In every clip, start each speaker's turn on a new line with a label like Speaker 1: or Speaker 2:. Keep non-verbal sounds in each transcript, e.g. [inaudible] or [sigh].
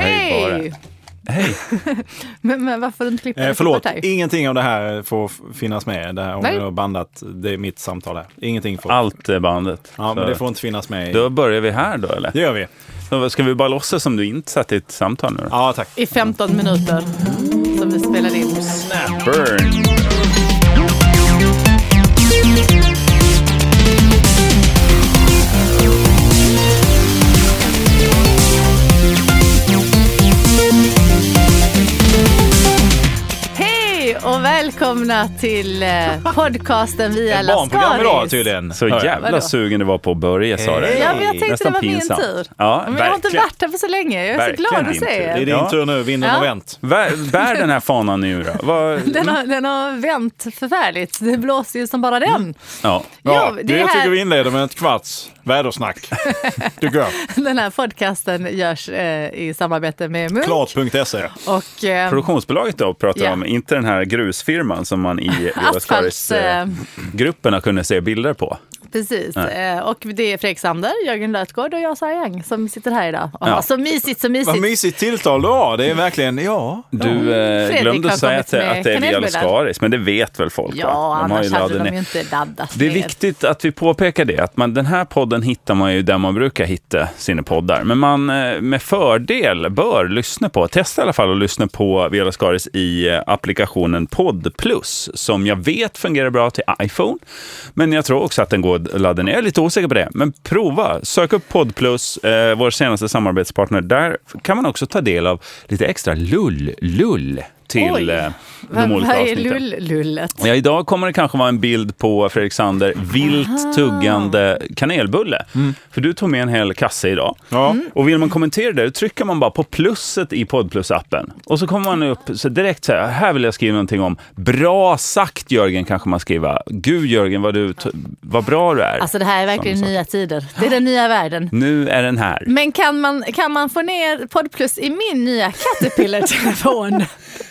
Speaker 1: där.
Speaker 2: ju.
Speaker 1: Hej!
Speaker 2: [laughs] Men, men varför du inte klipper
Speaker 1: Eh, förlåt,
Speaker 2: klipper det här?
Speaker 1: ingenting av det här får f- finnas med. Det här, om
Speaker 2: Nej.
Speaker 1: jag har bandat, det är mitt samtal här. Ingenting får.
Speaker 3: Allt är bandet.
Speaker 1: Ja, men
Speaker 3: Så
Speaker 1: det får inte finnas med. i-
Speaker 3: Då börjar vi här då eller?
Speaker 1: Det gör vi.
Speaker 3: Så Ska vi bara låtsas som du inte satt i ett samtal nu då?
Speaker 1: Ja, tack.
Speaker 2: I 15 minuter som vi spelade in.
Speaker 3: Burn.
Speaker 2: Hej och välkomna till eh, podcasten Via
Speaker 1: Ett barnprogram idag
Speaker 2: Lascaris.
Speaker 1: tydligen.
Speaker 3: Så
Speaker 1: hör jag.
Speaker 3: jävla
Speaker 2: Vadå?
Speaker 3: sugen du var på att börja sa du.
Speaker 1: Hej.
Speaker 2: Ja, men jag tänkte
Speaker 3: Nästan
Speaker 2: det var
Speaker 3: pinsamt.
Speaker 2: min tur.
Speaker 3: Ja,
Speaker 2: men jag har inte
Speaker 3: verkligen.
Speaker 2: varit där för så länge. Jag är
Speaker 3: Verkligen
Speaker 2: så glad att
Speaker 3: din
Speaker 2: se
Speaker 3: tur.
Speaker 1: Det är
Speaker 2: er.
Speaker 1: din
Speaker 3: Ja.
Speaker 1: tur nu, vinden
Speaker 2: Ja.
Speaker 1: har vänt.
Speaker 3: Bär, bär den här fanan nu då. Vad-
Speaker 2: [laughs] Den
Speaker 1: Mm.
Speaker 2: har, den har vänt förfärligt. Det blåser ju som bara den.
Speaker 1: Mm.
Speaker 3: ja.
Speaker 2: Ja,
Speaker 1: Ja,
Speaker 2: det
Speaker 1: jag
Speaker 2: här-
Speaker 1: tycker vi inleder med ett kvarts vädersnack. tycker jag.
Speaker 2: Den här podcasten görs eh, i samarbete med Munk.
Speaker 1: Klart.se.
Speaker 2: Och, eh,
Speaker 3: Produktionsbolaget då pratar
Speaker 2: Ja.
Speaker 3: jag om, inte den här grusfirman som man
Speaker 2: [laughs]
Speaker 3: i
Speaker 2: Asfalts, eh,
Speaker 3: Villaskaris-grupperna kunde se bilder på.
Speaker 2: precis. Eh, och det är Fredrik Sander, Jörgen Lötgård och jag Sara Young som sitter här idag. Åh,
Speaker 3: Ja.
Speaker 2: Så mysigt, så mysigt.
Speaker 1: Vad mysigt tilltal du har. Det är verkligen, ja.
Speaker 3: Du eh,
Speaker 2: Fredrik
Speaker 3: glömde
Speaker 2: har
Speaker 3: säga
Speaker 2: kommit
Speaker 3: att, det-
Speaker 2: med
Speaker 3: att det är Via
Speaker 2: kanelbullar.
Speaker 3: Lascaris, men det vet väl folk?
Speaker 2: ja,
Speaker 3: va? De har ju
Speaker 2: annars hade
Speaker 3: laddat
Speaker 2: de
Speaker 3: ner.
Speaker 2: ju inte laddat
Speaker 3: Det är
Speaker 2: ner.
Speaker 3: viktigt att vi påpekar det, att man, den här podden hittar man ju där man brukar hitta sina poddar. Men man eh, med fördel bör lyssna på, testa i alla fall att lyssna på Viola Skaris i eh, applikationen Podd Plus, som jag vet fungerar bra till iPhone. Men jag tror också att den går att ladda ner. Jag är lite osäker på det, men prova. Sök upp Podd Plus, eh, vår senaste samarbetspartner. Där kan man också ta del av lite extra lull-lull
Speaker 2: Oj.
Speaker 3: till eh,
Speaker 2: Vad
Speaker 3: de olika
Speaker 2: vad är
Speaker 3: avsnitten.
Speaker 2: lull-lullet?
Speaker 3: Ja, idag kommer det kanske vara en bild på Fredrik Sander vilt tuggande kanelbulle.
Speaker 2: Mm.
Speaker 3: För du tog med en hel kasse idag.
Speaker 1: Ja.
Speaker 3: Och vill man kommentera det, då trycker man bara på plusset i Podplus-appen. Och så kommer man upp så direkt så här, här vill jag skriva någonting om. Bra sagt Jörgen kanske man skriver. Gud Jörgen, vad, du t- vad bra du är.
Speaker 2: Alltså det här är verkligen
Speaker 3: Samma sak.
Speaker 2: nya tider. Det är den nya världen.
Speaker 3: Nu är den här.
Speaker 2: Men kan man, kan man få ner Podplus i min nya
Speaker 3: [laughs]
Speaker 2: Caterpillar-telefon?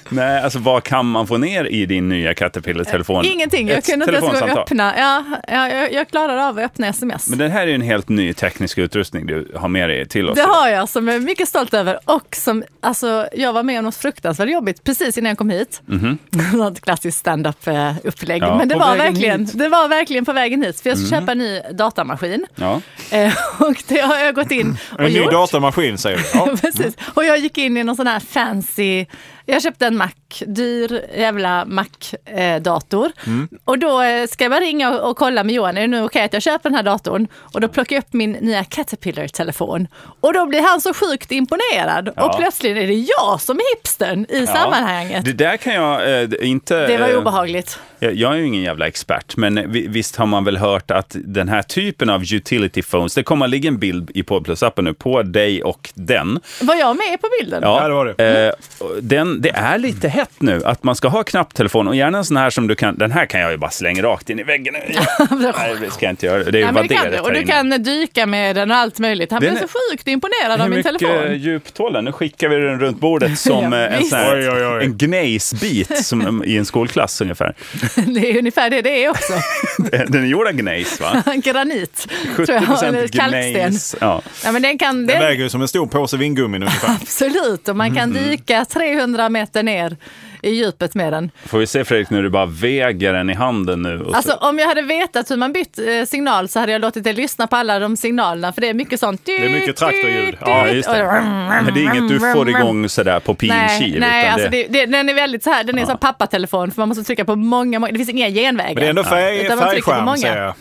Speaker 3: Nej, alltså vad kan man få ner i din nya Caterpillar-telefon?
Speaker 2: Eh, Ingenting, jag
Speaker 3: Ett
Speaker 2: kunde inte ens gå och
Speaker 3: telefonsamtal.
Speaker 2: öppna. Ja, ja, jag, jag klarade av att öppna sms.
Speaker 3: Men den här är ju en helt ny teknisk utrustning du har med dig till oss.
Speaker 2: Det har jag som jag är mycket stolt över och som, alltså jag var med om något fruktansvärt jobbigt precis innan jag kom hit. [laughs] Något klassiskt stand-up eh, upplägg.
Speaker 3: Ja,
Speaker 2: Men det
Speaker 1: Mhm. på
Speaker 2: var,
Speaker 1: vägen Mhm.
Speaker 2: verkligen, det var verkligen på vägen hit för jag ska köpa en ny datamaskin.
Speaker 3: Ja.
Speaker 2: Eh, [laughs] Och det har jag gått in och
Speaker 1: En ny
Speaker 2: gjort.
Speaker 1: datamaskin säger du.
Speaker 2: [laughs]
Speaker 1: Ja.
Speaker 2: Precis.
Speaker 3: Mm.
Speaker 2: Och jag gick in i någon sån här fancy, jag köpte en Mac, dyr jävla Mac-dator.
Speaker 3: Mm.
Speaker 2: Och då eh, ska jag bara ringa och, och kolla med Johan, är det nu okej att jag köper den här datorn? Och då plockar jag upp min nya Caterpillar-telefon. Och då blir han så sjukt imponerad.
Speaker 3: Ja.
Speaker 2: Och plötsligt är det jag som är hipstern i
Speaker 3: Ja.
Speaker 2: sammanhanget.
Speaker 3: Det där kan jag eh, inte...
Speaker 2: Det var ju
Speaker 3: eh,
Speaker 2: obehagligt.
Speaker 3: Jag, jag är ju ingen jävla expert, men vi- visst har man väl hört att den här typen av utility phones, det kommer att ligga en bild i Podplus-appen nu på dig och den.
Speaker 2: Var jag med på bilden? [laughs]
Speaker 1: Ja, det var du.
Speaker 3: Eh, och den, det är lite hett nu att man ska ha knapptelefon och gärna en sån här som du kan, den här kan jag ju bara slänga rakt in
Speaker 2: [laughs]
Speaker 3: i väggen. Nej, det ska jag inte göra. Det är ju
Speaker 2: Nej, men det kan
Speaker 3: vadderat
Speaker 2: du. Och
Speaker 3: här
Speaker 2: du
Speaker 3: inne.
Speaker 2: kan dyka med den och allt möjligt. Han
Speaker 3: Den
Speaker 2: blev
Speaker 3: är-
Speaker 2: så sjukt imponerad av
Speaker 3: Hur
Speaker 2: min
Speaker 3: mycket
Speaker 2: telefon. [laughs]
Speaker 3: djup tål den? Nu skickar vi den runt bordet som
Speaker 2: Ja,
Speaker 3: eh, en,
Speaker 2: visst.
Speaker 3: sån här,
Speaker 1: Oj, oj, oj.
Speaker 3: en gnejsbit som, i en skolklass ungefär.
Speaker 2: Det är ungefär det det är också.
Speaker 3: [laughs] Den är gjord av
Speaker 2: [laughs]
Speaker 3: gnejs, va?
Speaker 2: granit, tror
Speaker 3: 70
Speaker 2: jag, eller
Speaker 3: procent
Speaker 2: kalksten.
Speaker 3: gnejs. Ja.
Speaker 2: Ja, men den kan,
Speaker 1: Den
Speaker 2: den,
Speaker 1: väger ju som en stor påse vingummin ungefär.
Speaker 2: absolut, och man kan dyka 300 meter ner i djupet med den.
Speaker 3: Får vi se Fredrik när du bara väger den i handen nu? Och så-
Speaker 2: Alltså om jag hade vetat hur man bytt eh, signal så hade jag låtit dig lyssna på alla de signalerna, för det är mycket sånt. Det
Speaker 1: är mycket traktorljud.
Speaker 3: ja, just det. Men det är inget du får igång sådär på pin
Speaker 2: mm, Nej,
Speaker 3: kiv.
Speaker 2: nej
Speaker 3: utan
Speaker 2: alltså det, det, den är väldigt så här, den är som pappatelefon för man måste trycka på många, många det finns inga genvägar.
Speaker 1: Men det är ändå färg,
Speaker 2: Utan man trycker på
Speaker 1: färgskärm
Speaker 2: många.
Speaker 1: säger jag.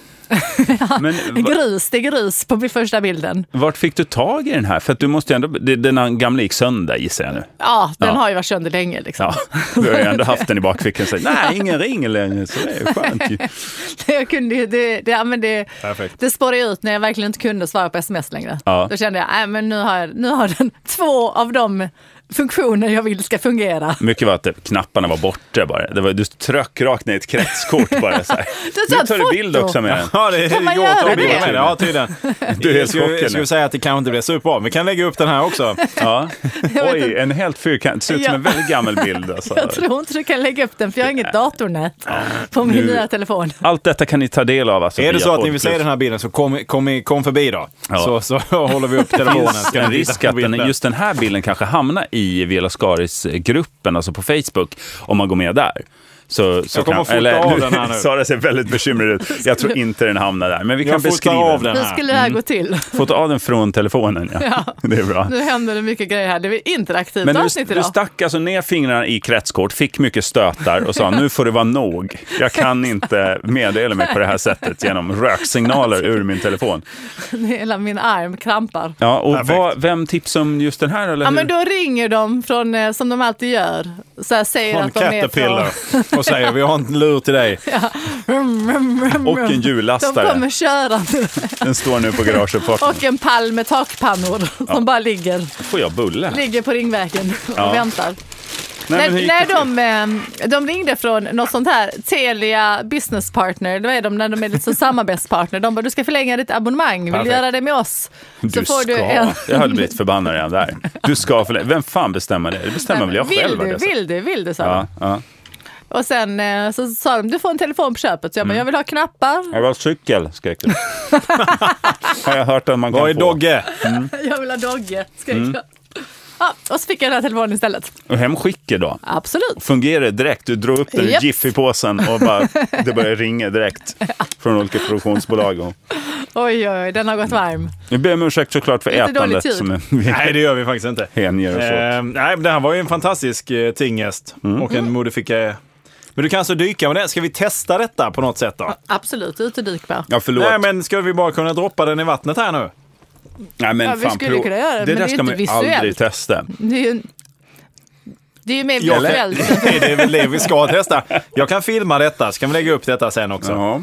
Speaker 3: Men
Speaker 2: [laughs]
Speaker 3: va-
Speaker 2: Grus, det är grus på första bilden.
Speaker 3: vart fick du tag i den här? För att du måste ju ändå... det- Den gamla gick sönder gissar jag nu.
Speaker 2: Ja, den
Speaker 3: Ja.
Speaker 2: har ju varit sönder länge liksom.
Speaker 3: Ja, [laughs] du har ju ändå haft den i bakfickan. Så, nej, ingen ring längre, så det är ju skönt. ju.
Speaker 2: [laughs] Jag kunde ju, det, det, ja, men det,
Speaker 1: Perfekt.
Speaker 2: det spårade ju ut när jag verkligen inte kunde svara på sms längre.
Speaker 3: Ja.
Speaker 2: Då kände jag, nej men nu har, jag- nu har den [laughs] två av de funktioner jag vill ska fungera.
Speaker 3: Mycket var att det- knapparna var borta bara. Det var, du tryck rakt ner i ett kretskort
Speaker 2: [laughs]
Speaker 3: bara. Så här.
Speaker 2: sa
Speaker 3: Nu
Speaker 2: ett
Speaker 3: tar du bild
Speaker 2: foto.
Speaker 3: också med den.
Speaker 1: Ja, det
Speaker 2: Kan man
Speaker 1: går att ta
Speaker 2: göra
Speaker 1: bilder
Speaker 2: det?
Speaker 1: med Ja, tydligen.
Speaker 3: [laughs] Du är helt
Speaker 1: Jag skulle-
Speaker 3: chockad
Speaker 1: Jag
Speaker 3: nu.
Speaker 1: skulle säga att det kanske inte blev superbra. Vi kan lägga upp den här också.
Speaker 2: [laughs]
Speaker 3: Ja.
Speaker 2: vet
Speaker 3: Oj,
Speaker 2: inte.
Speaker 3: en helt fyrkant. Det ser ut som en
Speaker 2: Ja.
Speaker 3: väldigt gammal bild. Alltså.
Speaker 2: Jag tror inte du kan lägga upp den för jag har inget datornät på min
Speaker 3: Nu-
Speaker 2: nya telefon.
Speaker 3: Allt detta kan ni ta del av. Alltså,
Speaker 1: Är det
Speaker 3: via
Speaker 1: så att ni vill
Speaker 3: Podplus.
Speaker 1: se den här bilden så kom, kom, kom förbi då.
Speaker 3: Ja.
Speaker 1: Så, så [laughs] håller vi upp telefonen.
Speaker 3: finns en risk att den, just den här bilden kanske hamnar i i Vela Skaris-gruppen, alltså på Facebook, om man går med där. Så, så
Speaker 1: Jag kommer
Speaker 3: kan-
Speaker 1: fota av den här
Speaker 3: [laughs]
Speaker 1: nu.
Speaker 3: Sara ser väldigt bekymrad ut. Jag tror inte den hamnar där, men vi kan
Speaker 1: Jag fotar
Speaker 3: beskriva
Speaker 1: av den
Speaker 2: Hur
Speaker 1: här.
Speaker 2: skulle det här
Speaker 3: mm.
Speaker 2: gå till?
Speaker 3: Fota av den från telefonen, ja. [laughs] Det är bra.
Speaker 2: Nu händer det mycket grejer här. Det blir interaktivt
Speaker 3: Men
Speaker 2: avsnitt
Speaker 3: du, du
Speaker 2: idag. [laughs]
Speaker 3: stack alltså ner fingrarna i kretskort, fick mycket stötar och sa nu får det vara nog. Jag kan inte meddela mig på det här sättet genom röksignaler ur min telefon.
Speaker 2: Hela min arm krampar.
Speaker 3: Ja, och
Speaker 1: Perfekt.
Speaker 3: vad, vem tipsade om just den här? Eller
Speaker 2: Ja
Speaker 3: hur?
Speaker 2: men då ringer de från, eh, som de alltid gör. Så här säger
Speaker 1: Från
Speaker 2: att de är
Speaker 1: Caterpillar
Speaker 2: från... [laughs]
Speaker 1: [laughs] och säger vi har en lur till dig.
Speaker 3: Och en
Speaker 2: De
Speaker 3: hjullastare.
Speaker 2: kommer körande.
Speaker 3: Den står nu på
Speaker 2: [laughs]
Speaker 3: garageuppfarten.
Speaker 2: Och en pall med takpannor som bara ligger,
Speaker 3: Får jag bulle? här?
Speaker 2: ligger på ringvägen och
Speaker 3: Ja.
Speaker 2: väntar.
Speaker 3: men
Speaker 2: Nej,
Speaker 3: hur gick
Speaker 2: nej,
Speaker 3: det
Speaker 2: de, eh, de ringde från något sånt här Telia Business Partner, det är de när de är lite som samarbetspartner. De bara, du ska förlänga ditt abonnemang, vill du
Speaker 3: Perfekt.
Speaker 2: göra det med oss?
Speaker 3: Du ska. Jag hade blivit förbannad redan där. Du ska förlä- Vem fan bestämmer det? Det bestämmer väl jag
Speaker 2: vill
Speaker 3: själv? hade
Speaker 2: du,
Speaker 3: jag sagt.
Speaker 2: vill du, vill du, sa de.
Speaker 3: Ja, ja.
Speaker 2: Och sen eh, så sa de, du får en telefon på köpet. Så
Speaker 3: Mm.
Speaker 2: jag bara, jag vill ha knappar,
Speaker 3: [laughs] Jag vill ha cykel, skrek
Speaker 2: [laughs]
Speaker 3: du. Har jag hört att man kan
Speaker 1: Vad är
Speaker 3: få. [laughs]
Speaker 1: Dogge?
Speaker 2: jag vill ha Dogge, skrek
Speaker 3: Mm.
Speaker 2: jag. Ja, och så fick jag den här telefonen istället.
Speaker 3: Och hem skickar då.
Speaker 2: Absolut.
Speaker 3: Fungerar det direkt? Du drog upp den ur
Speaker 2: Japp.
Speaker 3: Jiffy-påsen
Speaker 2: [laughs]
Speaker 3: och bara, det börjar ringa direkt från olika produktionsbolag. Och...
Speaker 2: Oj, oj, oj, den har gått varm.
Speaker 3: Vi ber om ursäkt såklart för
Speaker 2: Lite dålig
Speaker 3: ätandet
Speaker 2: tid.
Speaker 3: som är- vi
Speaker 1: Nej, det gör vi faktiskt inte.
Speaker 3: hänger oss åt.
Speaker 1: Eh, nej, men det här var ju en fantastisk eh, tinghäst
Speaker 3: Mm.
Speaker 1: och en modifika. Men du kan alltså dyka med den. Ska vi testa detta på något sätt då?
Speaker 2: Absolut, ut och dyk bara.
Speaker 3: Ja, förlåt.
Speaker 1: Nej, men ska vi bara kunna droppa den i vattnet här nu?
Speaker 3: Nej, men
Speaker 2: Ja, vi
Speaker 3: fan,
Speaker 2: skulle
Speaker 3: prov-
Speaker 2: kunna göra det,
Speaker 3: det
Speaker 2: men
Speaker 3: där
Speaker 2: det är
Speaker 3: ska man
Speaker 2: inte
Speaker 3: ju aldrig
Speaker 2: visuellt.
Speaker 3: testa.
Speaker 2: Det är ju, det är ju mer
Speaker 1: Ja,
Speaker 2: visuellt.
Speaker 1: Nej, [laughs] det är väl det vi ska testa. Jag kan filma detta, så kan vi lägga upp detta sen också.
Speaker 3: Ja.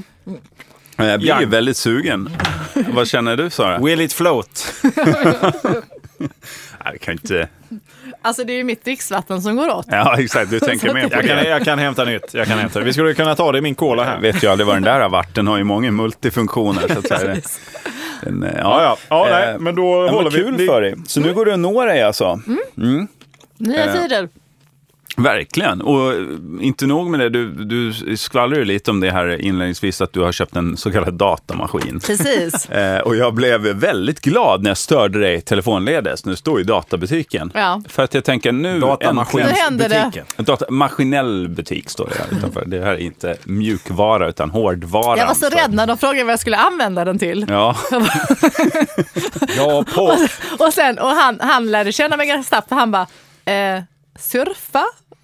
Speaker 3: Eh, Jag blir ju
Speaker 1: Young.
Speaker 3: väldigt sugen. Vad känner du Sara?
Speaker 1: Will it float?
Speaker 3: Nej, vi kan ju inte...
Speaker 2: Alltså det är ju mitt dricksvatten som går åt.
Speaker 3: Ja, exakt. Du
Speaker 2: [laughs]
Speaker 3: tänker
Speaker 2: Så
Speaker 3: mer på
Speaker 1: Jag kan,
Speaker 3: det.
Speaker 1: jag kan hämta nytt. Jag kan hämta. Vi skulle kunna ta det i min cola
Speaker 3: Jag
Speaker 1: här.
Speaker 3: vet ju aldrig vad den där har varit. Den har ju många multifunktioner. Så att säga. Den, eh,
Speaker 1: Ja, ja. ja nej,
Speaker 3: Eh,
Speaker 1: men då
Speaker 3: men
Speaker 1: håller
Speaker 3: vad
Speaker 1: vi.
Speaker 3: kul för dig. Så nu går du och når dig alltså?
Speaker 2: Nya tider.
Speaker 3: Verkligen. Och eh, inte nog med det, du, du skvallrar ju lite om det här inledningsvis, att du har köpt en så kallad datamaskin. [laughs]
Speaker 2: Precis.
Speaker 3: Eh, och jag blev väldigt glad när jag störde dig telefonledes. Nu står ju databutiken.
Speaker 2: Ja.
Speaker 3: För att jag tänker nu...
Speaker 1: Datamaskin.
Speaker 2: Nu händer det.
Speaker 1: Butiken.
Speaker 3: En data, maskinell butik står det här utanför. Det här är inte mjukvara utan hårdvara.
Speaker 2: Jag var så rädd när de frågade vad jag skulle använda den till.
Speaker 3: [laughs] Ja,
Speaker 1: Ja, på.
Speaker 2: Och sen, och han, han lärde känna mig ganska snabbt för han bara, eh, surfa?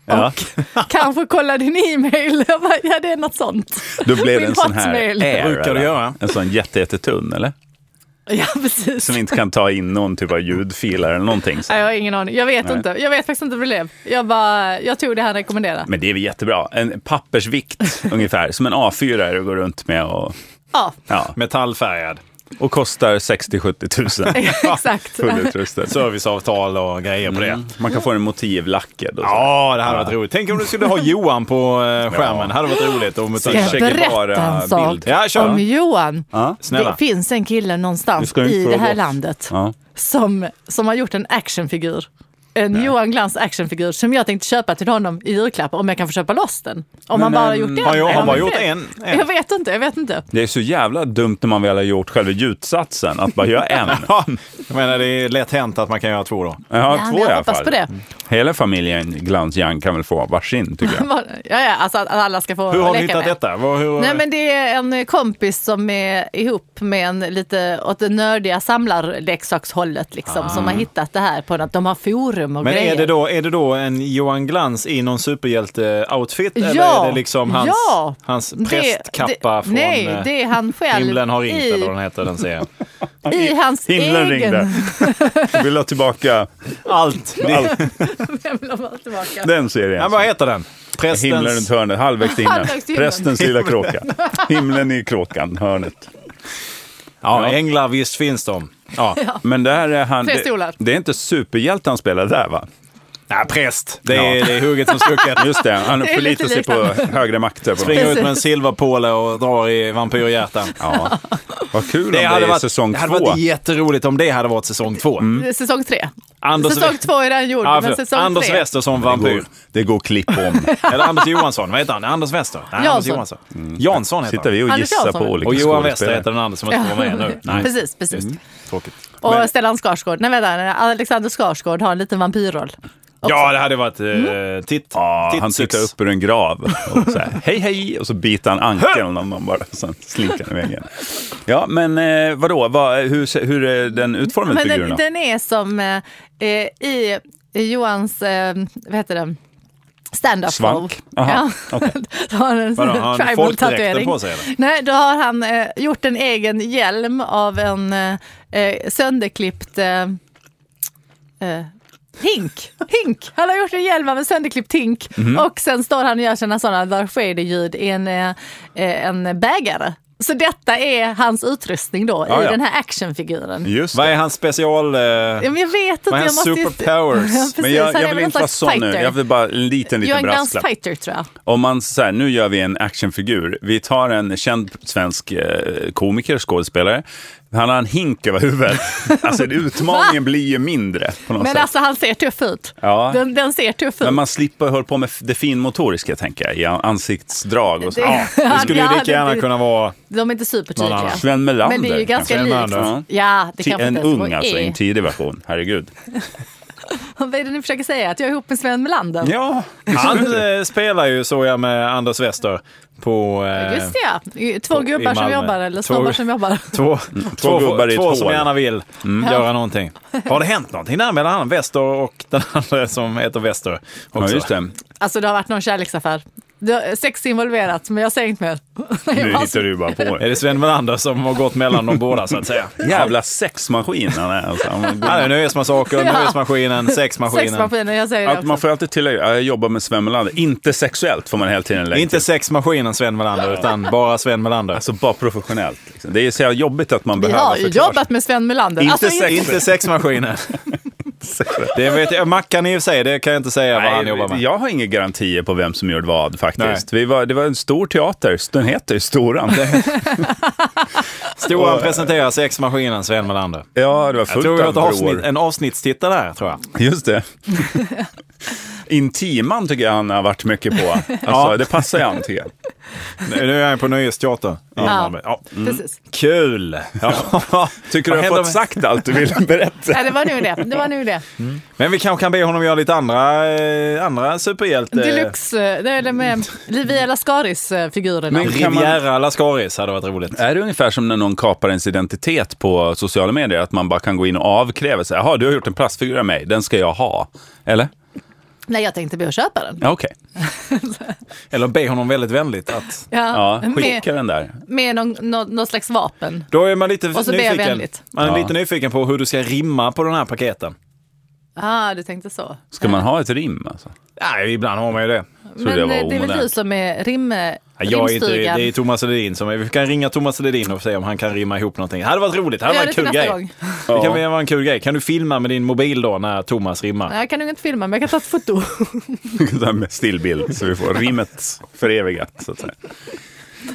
Speaker 3: Ja.
Speaker 2: Och kanske kolla din e-mail. Jag bara, ja det är något sånt. [laughs]
Speaker 3: då blev det
Speaker 2: Min
Speaker 3: en sån här
Speaker 2: hotmail.
Speaker 3: air,
Speaker 1: Brukar du
Speaker 3: eller?
Speaker 1: göra?
Speaker 3: En sån jätte, jättetunn, eller?
Speaker 2: Ja precis.
Speaker 3: Som inte kan ta in någon typ av ljudfiler eller någonting. Så.
Speaker 2: Nej, jag har ingen aning. Jag vet
Speaker 3: Nej.
Speaker 2: inte. Jag vet faktiskt inte hur det blev. Jag bara, jag tog det han rekommenderade.
Speaker 3: Men det är väl jättebra. En
Speaker 2: [laughs]
Speaker 3: pappersvikt ungefär, som en A4 är du går runt med och, [laughs]
Speaker 2: Ja,
Speaker 3: ja,
Speaker 1: Metallfärgad.
Speaker 3: och kostar 60-70 000.
Speaker 2: [laughs] exakt.
Speaker 3: Fullutrustad. Så
Speaker 1: Serviceavtal och grejer på
Speaker 2: Mm.
Speaker 1: det.
Speaker 3: man kan få den motivlackad. Och så.
Speaker 1: Ja, det här hade varit roligt. Tänk om du skulle ha Johan på eh, skärmen. Det hade varit roligt. Och
Speaker 2: Ska jag
Speaker 1: metallfärgad.
Speaker 2: berätta en sak
Speaker 3: bild.
Speaker 1: Ja, kör.
Speaker 2: om Johan?
Speaker 1: Snälla.
Speaker 2: Det finns en kille
Speaker 3: Du
Speaker 2: någonstans
Speaker 3: ska ju
Speaker 2: i
Speaker 3: fråga
Speaker 2: det här
Speaker 3: oss.
Speaker 2: landet
Speaker 3: Ja.
Speaker 2: som, som har gjort en actionfigur. En Johan Glans actionfigur som jag tänkte köpa till honom i julklapp om jag kan få köpa loss den. Om han bara har gjort en.
Speaker 1: har jag-
Speaker 2: är
Speaker 1: har bara
Speaker 2: väl
Speaker 1: gjort
Speaker 2: fel?
Speaker 1: en- en?
Speaker 2: Jag vet inte, jag vet inte.
Speaker 3: Det är så jävla dumt när man väl har gjort själva ljudsatsen, att bara göra [laughs] en.
Speaker 1: Ja, jag menar, det är lätt hänt att man kan göra två då.
Speaker 3: Jag
Speaker 2: Ja,
Speaker 3: har två
Speaker 2: men jag
Speaker 3: i alla
Speaker 2: hoppas
Speaker 3: fall.
Speaker 2: på det.
Speaker 3: Hela familjen Glansjang kan väl få varsin, tycker
Speaker 2: [laughs]
Speaker 3: jag.
Speaker 2: Ja, ja, alltså att alla ska få
Speaker 1: Hur har du
Speaker 2: leka
Speaker 1: hittat
Speaker 2: med.
Speaker 1: detta? Vad- hur...
Speaker 2: Nej men det är en kompis som är ihop med en lite åt det nördiga samlarleksakshållet liksom som har hittat det här på att de har forum och
Speaker 1: Ah. Men
Speaker 2: grejer.
Speaker 1: är det, då, är det då en Johan Glans i någon superhjälte-outfit? eller
Speaker 2: Ja,
Speaker 1: är det liksom hans,
Speaker 2: ja.
Speaker 1: hans
Speaker 2: Det-
Speaker 1: prästkappa
Speaker 2: det-
Speaker 1: från
Speaker 2: Nej,
Speaker 1: eh,
Speaker 2: det är han själv
Speaker 1: Himlen har ringt,
Speaker 2: i,
Speaker 1: eller vad den heter, den serien?
Speaker 2: i hans egen... [laughs]
Speaker 3: Himlen ringde. Vill ha tillbaka
Speaker 1: Allt! [laughs] Det,
Speaker 3: allt.
Speaker 2: Vem vill ha tillbaka?
Speaker 3: den serien.
Speaker 1: ja, vad heter den?
Speaker 3: Himlen runt
Speaker 1: Prästens...
Speaker 3: hörnet, halvvägs till himlen.
Speaker 2: Halvvägs till himlen.
Speaker 3: Prästens lilla kråka. Himlen i kråkan, hörnet.
Speaker 1: Ja, änglar, visst finns de. Ja.
Speaker 3: Men det här är han...
Speaker 2: Tre
Speaker 3: Det,
Speaker 2: stolar.
Speaker 3: det är inte superhjälte han spelar där, va?
Speaker 1: Nej, präst. Det är,
Speaker 3: Ja.
Speaker 1: det är hugget
Speaker 3: [laughs]
Speaker 1: som stucket.
Speaker 3: Just det,
Speaker 2: [laughs]
Speaker 3: han
Speaker 2: Det är lite
Speaker 3: förlitar sig på högre makter. På
Speaker 1: Springer ut med en silverpåle och drar i vampyrhjärtan.
Speaker 3: ja. Vad kul om det är säsong
Speaker 1: det hade
Speaker 3: två. Mm.
Speaker 1: varit jätteroligt om det hade varit säsong två.
Speaker 2: Säsong tre.
Speaker 1: Anders-
Speaker 2: säsong två är den gjord,
Speaker 1: Ja,
Speaker 2: men
Speaker 1: förlåt.
Speaker 2: säsong
Speaker 1: Anders
Speaker 2: tre.
Speaker 1: Wester som
Speaker 3: Det går,
Speaker 1: vampyr.
Speaker 3: det går klipp om.
Speaker 1: Eller Anders Johansson, vad heter han? Anders Wester? Nej, Anders
Speaker 2: Jansson.
Speaker 1: Johansson. Jansson heter
Speaker 3: Mm. Sitter
Speaker 1: han.
Speaker 3: vi och
Speaker 2: Anders
Speaker 3: gissar på
Speaker 2: Jansson.
Speaker 3: olika
Speaker 1: Och Johan Wester
Speaker 3: skådespelare. Mm.
Speaker 1: heter den andra som inte får vara med nu. Nej,
Speaker 2: Precis,
Speaker 1: Mm.
Speaker 2: precis.
Speaker 1: tråkigt.
Speaker 2: Och Stellan Skarsgård, nej vänta, Alexander Skarsgård har en liten vampyrroll. också.
Speaker 1: Ja, det hade varit eh, titt.
Speaker 3: Mm. Ja, han
Speaker 1: tittsix.
Speaker 3: tittar upp ur en grav och så här, hej hej, och så biter han ankeln om någon bara, och sen slinker han i väggen. Ja, men eh, vadå, Vad- hur, se- hur är den utformad
Speaker 2: Men
Speaker 3: figuren
Speaker 2: den,
Speaker 3: då?
Speaker 2: den är som eh, eh, i i Johans, eh, vad heter det, stand-up
Speaker 3: Svank?
Speaker 2: show.
Speaker 3: Aha,
Speaker 2: Ja. [laughs] Då har han en
Speaker 1: Vadå, har han folkdräkten
Speaker 2: tribal-tatuering.
Speaker 1: på sig, eller?
Speaker 2: Nej, då har han eh, gjort en egen hjälm av en eh, eh, sönderklippt eh, eh, hink. hink. Han har gjort en hjälm av en sönderklippt hink och sen står han och gör sina sådana Darth Vader-ljud i en, eh, eh, en bägare. Så detta är hans utrustning då
Speaker 3: Ja,
Speaker 2: i
Speaker 3: ja.
Speaker 2: den här actionfiguren.
Speaker 3: Just
Speaker 1: Vad
Speaker 3: det.
Speaker 1: är hans special... eh,
Speaker 2: Ja, men jag vet inte.
Speaker 1: Vad är
Speaker 2: jag
Speaker 1: hans
Speaker 2: måste ju-
Speaker 1: superpowers?
Speaker 2: [laughs] Ja, precis.
Speaker 3: Men
Speaker 2: Han
Speaker 3: jag,
Speaker 2: är väl
Speaker 3: jag vill
Speaker 2: någon
Speaker 3: inte vara
Speaker 2: slags
Speaker 3: sån nu,
Speaker 2: fighter.
Speaker 3: jag vill bara en liten,
Speaker 2: Jag är
Speaker 3: liten
Speaker 2: en ganska
Speaker 3: brasklapp.
Speaker 2: fighter tror jag.
Speaker 3: Om man så här, nu gör vi en actionfigur. Vi tar en känd svensk eh, komiker, skådespelare. Han har en hink
Speaker 2: [laughs]
Speaker 3: över huvudet. Alltså utmaningen blir ju mindre på något
Speaker 2: Men
Speaker 3: sätt.
Speaker 2: alltså han ser tuff ut.
Speaker 3: Ja.
Speaker 2: Den, den ser tuff ut.
Speaker 3: Men man slipper hålla på med f- det finmotoriska, tänker jag, i an- ansiktsdrag och så.
Speaker 2: Det-
Speaker 3: Ja.
Speaker 2: [laughs]
Speaker 1: Det skulle
Speaker 2: Ja,
Speaker 1: ju
Speaker 2: det-
Speaker 1: lika gärna
Speaker 2: det-
Speaker 1: kunna vara...
Speaker 2: De är inte
Speaker 1: Någon
Speaker 2: supertydliga.
Speaker 1: annan.
Speaker 3: Sven Melander.
Speaker 2: Men det är ju ganska
Speaker 3: kanske.
Speaker 1: Sven
Speaker 2: likt.
Speaker 1: Melander.
Speaker 2: Ja, det
Speaker 3: Ti-
Speaker 2: kanske
Speaker 3: En
Speaker 2: inte ens E.
Speaker 3: ung
Speaker 2: vad
Speaker 3: alltså, i
Speaker 2: är.
Speaker 3: en tidig version. Herregud.
Speaker 2: [laughs] Vad är det ni försöker säga? Att jag är ihop med Sven Melander?
Speaker 3: Ja,
Speaker 1: Han eh, spelar ju, såg jag, med Anders Wester på... eh,
Speaker 2: Just det, ja. Två
Speaker 1: i
Speaker 2: gubbar som
Speaker 1: Malmö.
Speaker 2: jobbar eller
Speaker 1: Två-
Speaker 2: snubbar som jobbar. [laughs]
Speaker 1: Två, två,
Speaker 3: gubbar i
Speaker 1: två
Speaker 3: ett
Speaker 1: som
Speaker 3: hål. Mm.
Speaker 1: gärna vill göra någonting. Har det hänt någonting där mellan han Wester och den andra som heter Wester?
Speaker 3: Ja,
Speaker 1: också?
Speaker 3: just det.
Speaker 2: Alltså det har varit någon kärleksaffär. Det har sex involverat, men jag säger inte mer. [laughs] Alltså-
Speaker 3: Nu hittar du bara på.
Speaker 1: Är det Sven Melander som har gått mellan de båda så
Speaker 3: [laughs]
Speaker 1: att säga?
Speaker 3: Jävla sexmaskin han är. Alltså. Han-
Speaker 2: [laughs]
Speaker 1: Han är nöjesmassakern,
Speaker 2: Ja.
Speaker 1: nöjesmaskinen, sexmaskinen.
Speaker 2: Sexmaskinen, jag säger det
Speaker 3: Att
Speaker 2: också.
Speaker 3: man får alltid tillägga, ja, jag jobbar med Sven Melander. Inte sexuellt får man hela tiden lägga
Speaker 1: Inte sexmaskinen Sven Melander, utan bara Sven Melander.
Speaker 3: Alltså bara professionellt. Liksom. Det är så jävla jobbigt att man
Speaker 2: Vi
Speaker 3: behöver
Speaker 2: har ju
Speaker 3: förklara
Speaker 2: jobbat med Sven Melander.
Speaker 3: Inte
Speaker 2: alltså,
Speaker 3: sex- [laughs]
Speaker 1: inte sexmaskinen.
Speaker 3: sexuellt.
Speaker 1: Det vet jag. Mackan i och för sig, det kan jag inte säga vad han jobbar
Speaker 3: Nej,
Speaker 1: med.
Speaker 3: jag har inga garantier på vem som gjorde vad faktiskt. Vi var, det var en stor teater, den heter ju Storan.
Speaker 1: Storan presenterar sexmaskinen Sven Melander.
Speaker 3: Ja, det var
Speaker 1: Jag
Speaker 3: fullt
Speaker 1: tror vi har
Speaker 3: av
Speaker 1: ett avsnitt,
Speaker 3: vrår.
Speaker 1: en avsnittstittare här, tror jag.
Speaker 3: Just det. [laughs] Intiman tycker jag han har varit mycket [laughs] på. Alltså, Det passar ju han tycker jag.
Speaker 1: Nu är jag på Nöjesteatern.
Speaker 2: Ja.
Speaker 1: Ja.
Speaker 3: Mm.
Speaker 2: Precis.
Speaker 1: Kul! [laughs]
Speaker 3: Tycker
Speaker 1: Vad
Speaker 3: du har
Speaker 1: händer
Speaker 3: fått
Speaker 1: med-
Speaker 3: sagt allt du [laughs] ville berätta?
Speaker 2: Ja, det var nu det. det, var nu det.
Speaker 1: Men vi kanske kan be honom göra lite andra, eh, andra superhjälte...
Speaker 2: Deluxe, eh, det är det med Livia eh, Lascaris-figurerna.
Speaker 3: Men- Kan man-
Speaker 1: Riviera Lascaris hade varit roligt.
Speaker 3: Är det ungefär som när någon kapar ens identitet på sociala medier? Att man bara kan gå in och avkräva sig. Jaha, du har gjort en plastfigur av mig. Den ska jag ha. Eller?
Speaker 2: Nej, jag tänkte be och köpa den.
Speaker 3: Ja, okej.
Speaker 1: Eller be honom väldigt vänligt att...
Speaker 3: Ja, skicka
Speaker 2: med
Speaker 3: den där.
Speaker 2: med någon, någon, någon slags vapen.
Speaker 1: Då är man lite
Speaker 2: Och så be
Speaker 1: nyfiken.
Speaker 2: vänligt.
Speaker 1: Man är
Speaker 3: Ja.
Speaker 1: lite nyfiken på hur du ska rimma på den här paketen.
Speaker 2: Ah, du tänkte så.
Speaker 3: Ska man ha ett rim [laughs] alltså?
Speaker 1: Nej, ibland har man ju det.
Speaker 3: det
Speaker 2: Men eh,
Speaker 3: var
Speaker 2: det, är väl
Speaker 3: omodernt.
Speaker 2: du som är rim,
Speaker 1: Jag är inte, det
Speaker 2: rimstugan.
Speaker 1: är Thomas Ledin som är, Vi kan ringa Thomas Ledin och se om han kan rimma ihop någonting. Det hade varit roligt. Det hade
Speaker 2: Gör
Speaker 1: varit
Speaker 2: det
Speaker 1: en
Speaker 2: till nästa
Speaker 1: kul grej.
Speaker 2: gång.
Speaker 1: Det kan väl vara en kul grej. Kan du filma med din mobil då när Thomas rimmar?
Speaker 2: Jag kan nog inte filma, men jag kan ta ett foto. [laughs]
Speaker 3: Det här med stillbild så vi får rimmet förevigat. Så att säga.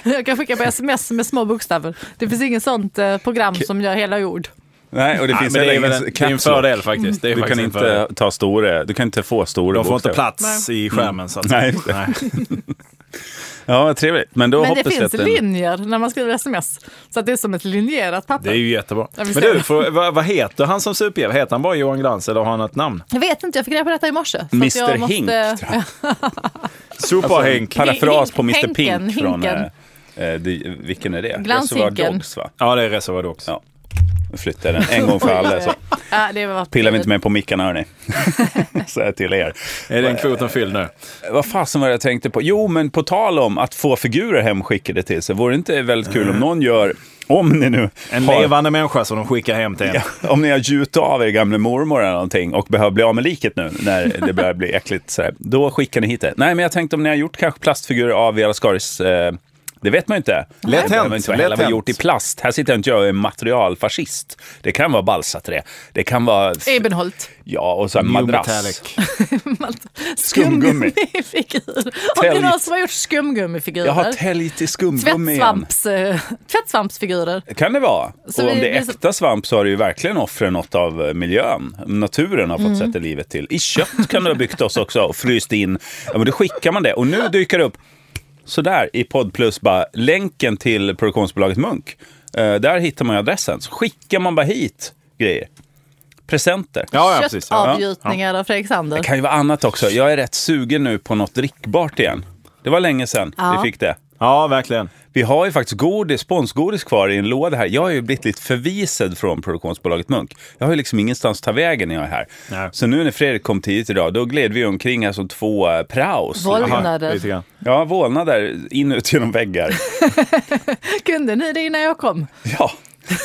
Speaker 2: jag kan skicka på sms med små bokstäver. Det finns inget sånt eh, program som gör hela ord.
Speaker 3: Nej, och det
Speaker 1: Nej,
Speaker 3: finns
Speaker 1: men det är
Speaker 3: heller
Speaker 1: väl
Speaker 3: ingen
Speaker 1: en, det är en
Speaker 3: caps lock.
Speaker 1: fördel faktiskt. Det är
Speaker 3: Du
Speaker 1: faktiskt
Speaker 3: kan
Speaker 1: en
Speaker 3: inte
Speaker 1: fördel.
Speaker 3: ta stora, du kan inte få stora
Speaker 1: De får inte
Speaker 3: bokstäver.
Speaker 1: plats i skärmen så att säga. Nej.
Speaker 3: Ja, vad trevligt. Men då
Speaker 2: Men det
Speaker 3: hoppas jag
Speaker 2: finns
Speaker 3: att den-
Speaker 2: linjer när man skriver sms. Så att det är som ett linjerat papper.
Speaker 1: Det är ju jättebra.
Speaker 2: Ja,
Speaker 1: Men
Speaker 2: vi ser.
Speaker 1: du, får, vad, vad heter han som superhjälte? Heter han bara Johan Glans eller har han ett namn?
Speaker 2: Jag vet inte, jag fick reda på detta i morse. Så att
Speaker 3: Mr
Speaker 2: jag måste- [laughs]
Speaker 3: Hink, tror jag. Alltså,
Speaker 1: Superhänk.
Speaker 3: Parafras på Mr
Speaker 2: Hinken,
Speaker 3: Pink från...
Speaker 2: Hinken.
Speaker 3: eh, eh, det- vilken är det?
Speaker 2: Glanshinken.
Speaker 3: Reservoir Dogs, va?
Speaker 1: Ja, det är Reservoir Dogs.
Speaker 3: Ja. Nu flyttar jag den en gång för alla. Så
Speaker 2: Ja, det var
Speaker 3: pillar vi inte med på mickarna, [laughs] hörni. Säger jag till er. Eh,
Speaker 1: Är den kvoten fylld nu?
Speaker 3: Vad fasen var det jag tänkte på? Jo, men på tal om att få figurer hemskickade till sig. Vore det inte väldigt kul om någon gör, om ni nu
Speaker 1: En
Speaker 3: har,
Speaker 1: levande människa som de skickar hem till en.
Speaker 3: [laughs] Ja, om ni har gjutit av er gamla mormor eller någonting och behöver bli av med liket nu när det börjar bli äckligt, så här, då skickar ni hit det. Nej, men jag tänkte om ni har gjort kanske plastfigurer av era skaris, eh, det vet man ju inte.
Speaker 1: Lätt
Speaker 3: Det behöver
Speaker 1: hänt,
Speaker 3: inte vara
Speaker 1: lätt
Speaker 3: hela vad
Speaker 1: hänt.
Speaker 3: gjort i plast. Här sitter inte jag och är materialfascist. Det kan vara balsaträ. Det kan vara,
Speaker 2: Ebenholt. [laughs]
Speaker 3: ja, och så här
Speaker 1: New
Speaker 3: madrass.
Speaker 1: Metallic.
Speaker 3: Skumgummi.
Speaker 2: Skumgummifigur. Om det är någon som har gjort skumgummifigurer.
Speaker 3: Jag har täljt i skumgummi igen.
Speaker 2: Tvättsvamps, eh, tvättsvampsfigurer.
Speaker 3: kan det vara.
Speaker 2: Så
Speaker 3: och om
Speaker 2: vi-
Speaker 3: det är
Speaker 2: vi-
Speaker 3: äkta svamp så har det ju verkligen offrat något av eh, miljön. Naturen har fått
Speaker 2: Mm.
Speaker 3: sätta livet till. I kött kan det ha byggt oss också och fryst in. Ja, men då skickar man det. Och nu dyker det upp sådär i Podd Plus bara länken till produktionsbolaget Munk. Eh, där hittar man ju adressen. Så skickar man bara hit grejer. presenter.
Speaker 1: Ja, ja, precis. Ja.
Speaker 2: Köttavgjutningar av Fredrik Sander.
Speaker 3: Det kan ju vara annat också. Jag är rätt sugen nu på något drickbart igen. Det var länge sedan
Speaker 2: Ja.
Speaker 3: vi fick det.
Speaker 1: ja, verkligen.
Speaker 3: Vi har ju faktiskt godis, sponsgodis kvar i en låda här. Jag har ju blivit lite förvisad från produktionsbolaget Munk. Jag har ju liksom ingenstans att ta vägen när jag är här.
Speaker 1: Nej.
Speaker 3: Så nu när Fredrik kom tidigt idag, då gled vi omkring här som två eh, praos.
Speaker 1: Aha,
Speaker 2: Vålnader.
Speaker 1: lite grann.
Speaker 3: Ja, vålnader in och ut
Speaker 2: [laughs]
Speaker 3: genom väggar.
Speaker 2: Kunde ni det innan jag kom?
Speaker 3: Ja,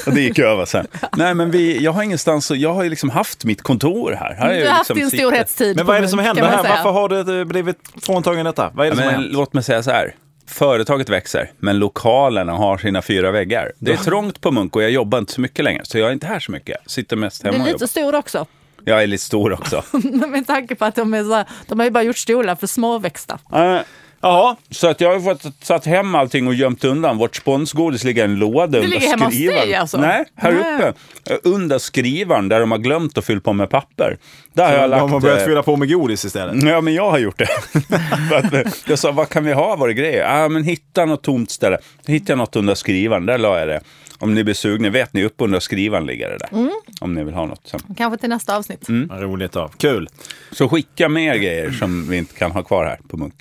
Speaker 3: och det gick över sen. Nej, men vi, jag har ingenstans, och jag har ju liksom haft mitt kontor här. här har jag
Speaker 2: Du
Speaker 3: ju
Speaker 2: har haft
Speaker 3: liksom
Speaker 2: din
Speaker 3: sitter-
Speaker 2: storhetstid.
Speaker 1: Men
Speaker 2: på
Speaker 1: vad är det
Speaker 2: Munk,
Speaker 1: som händer
Speaker 2: kan man
Speaker 1: här?
Speaker 2: säga.
Speaker 1: Varför har det eh, blivit fråntagen detta? Vad är
Speaker 3: Ja,
Speaker 1: det som har
Speaker 3: men,
Speaker 1: hänt?
Speaker 3: låt mig säga så här. Företaget växer, men lokalerna har sina fyra väggar. Det är trångt på Munk och jag jobbar inte så mycket längre, så jag är inte här så mycket. Sitter mest
Speaker 2: Du
Speaker 3: hemma och
Speaker 2: är
Speaker 3: jobbar.
Speaker 2: lite stor också. [laughs]
Speaker 3: Jag är lite stor också.
Speaker 2: Med tanke på att de, är så här, de har ju bara gjort stolar för småväxta.
Speaker 3: Eh,
Speaker 1: Jaha,
Speaker 3: så att jag har fått satt hem allting och gömt undan. Vårt sponsgodis ligger i en låda under
Speaker 2: ligger hemma hos dig
Speaker 3: skrivaren.
Speaker 2: alltså?
Speaker 3: Nej, här
Speaker 2: Nej.
Speaker 3: uppe. Eh, Under skrivaren där de har glömt att fylla på med papper. Där har jag lagt...
Speaker 1: de har börjat
Speaker 3: eh,
Speaker 1: fylla på med godis istället.
Speaker 3: Ja, men jag har gjort det. [laughs] För att, eh, jag sa, vad kan vi ha våra grejer? Ah, men hitta något tomt ställe. Hitta något under skrivaren, där la jag det. Om ni blir sugna, vet ni, upp under skrivaren ligger det där.
Speaker 2: Mm.
Speaker 3: Om ni vill ha något. sen.
Speaker 2: Kanske till nästa avsnitt.
Speaker 1: Vad Roligt av. Kul.
Speaker 3: Så skicka med er grejer som vi inte kan ha kvar här på Munk.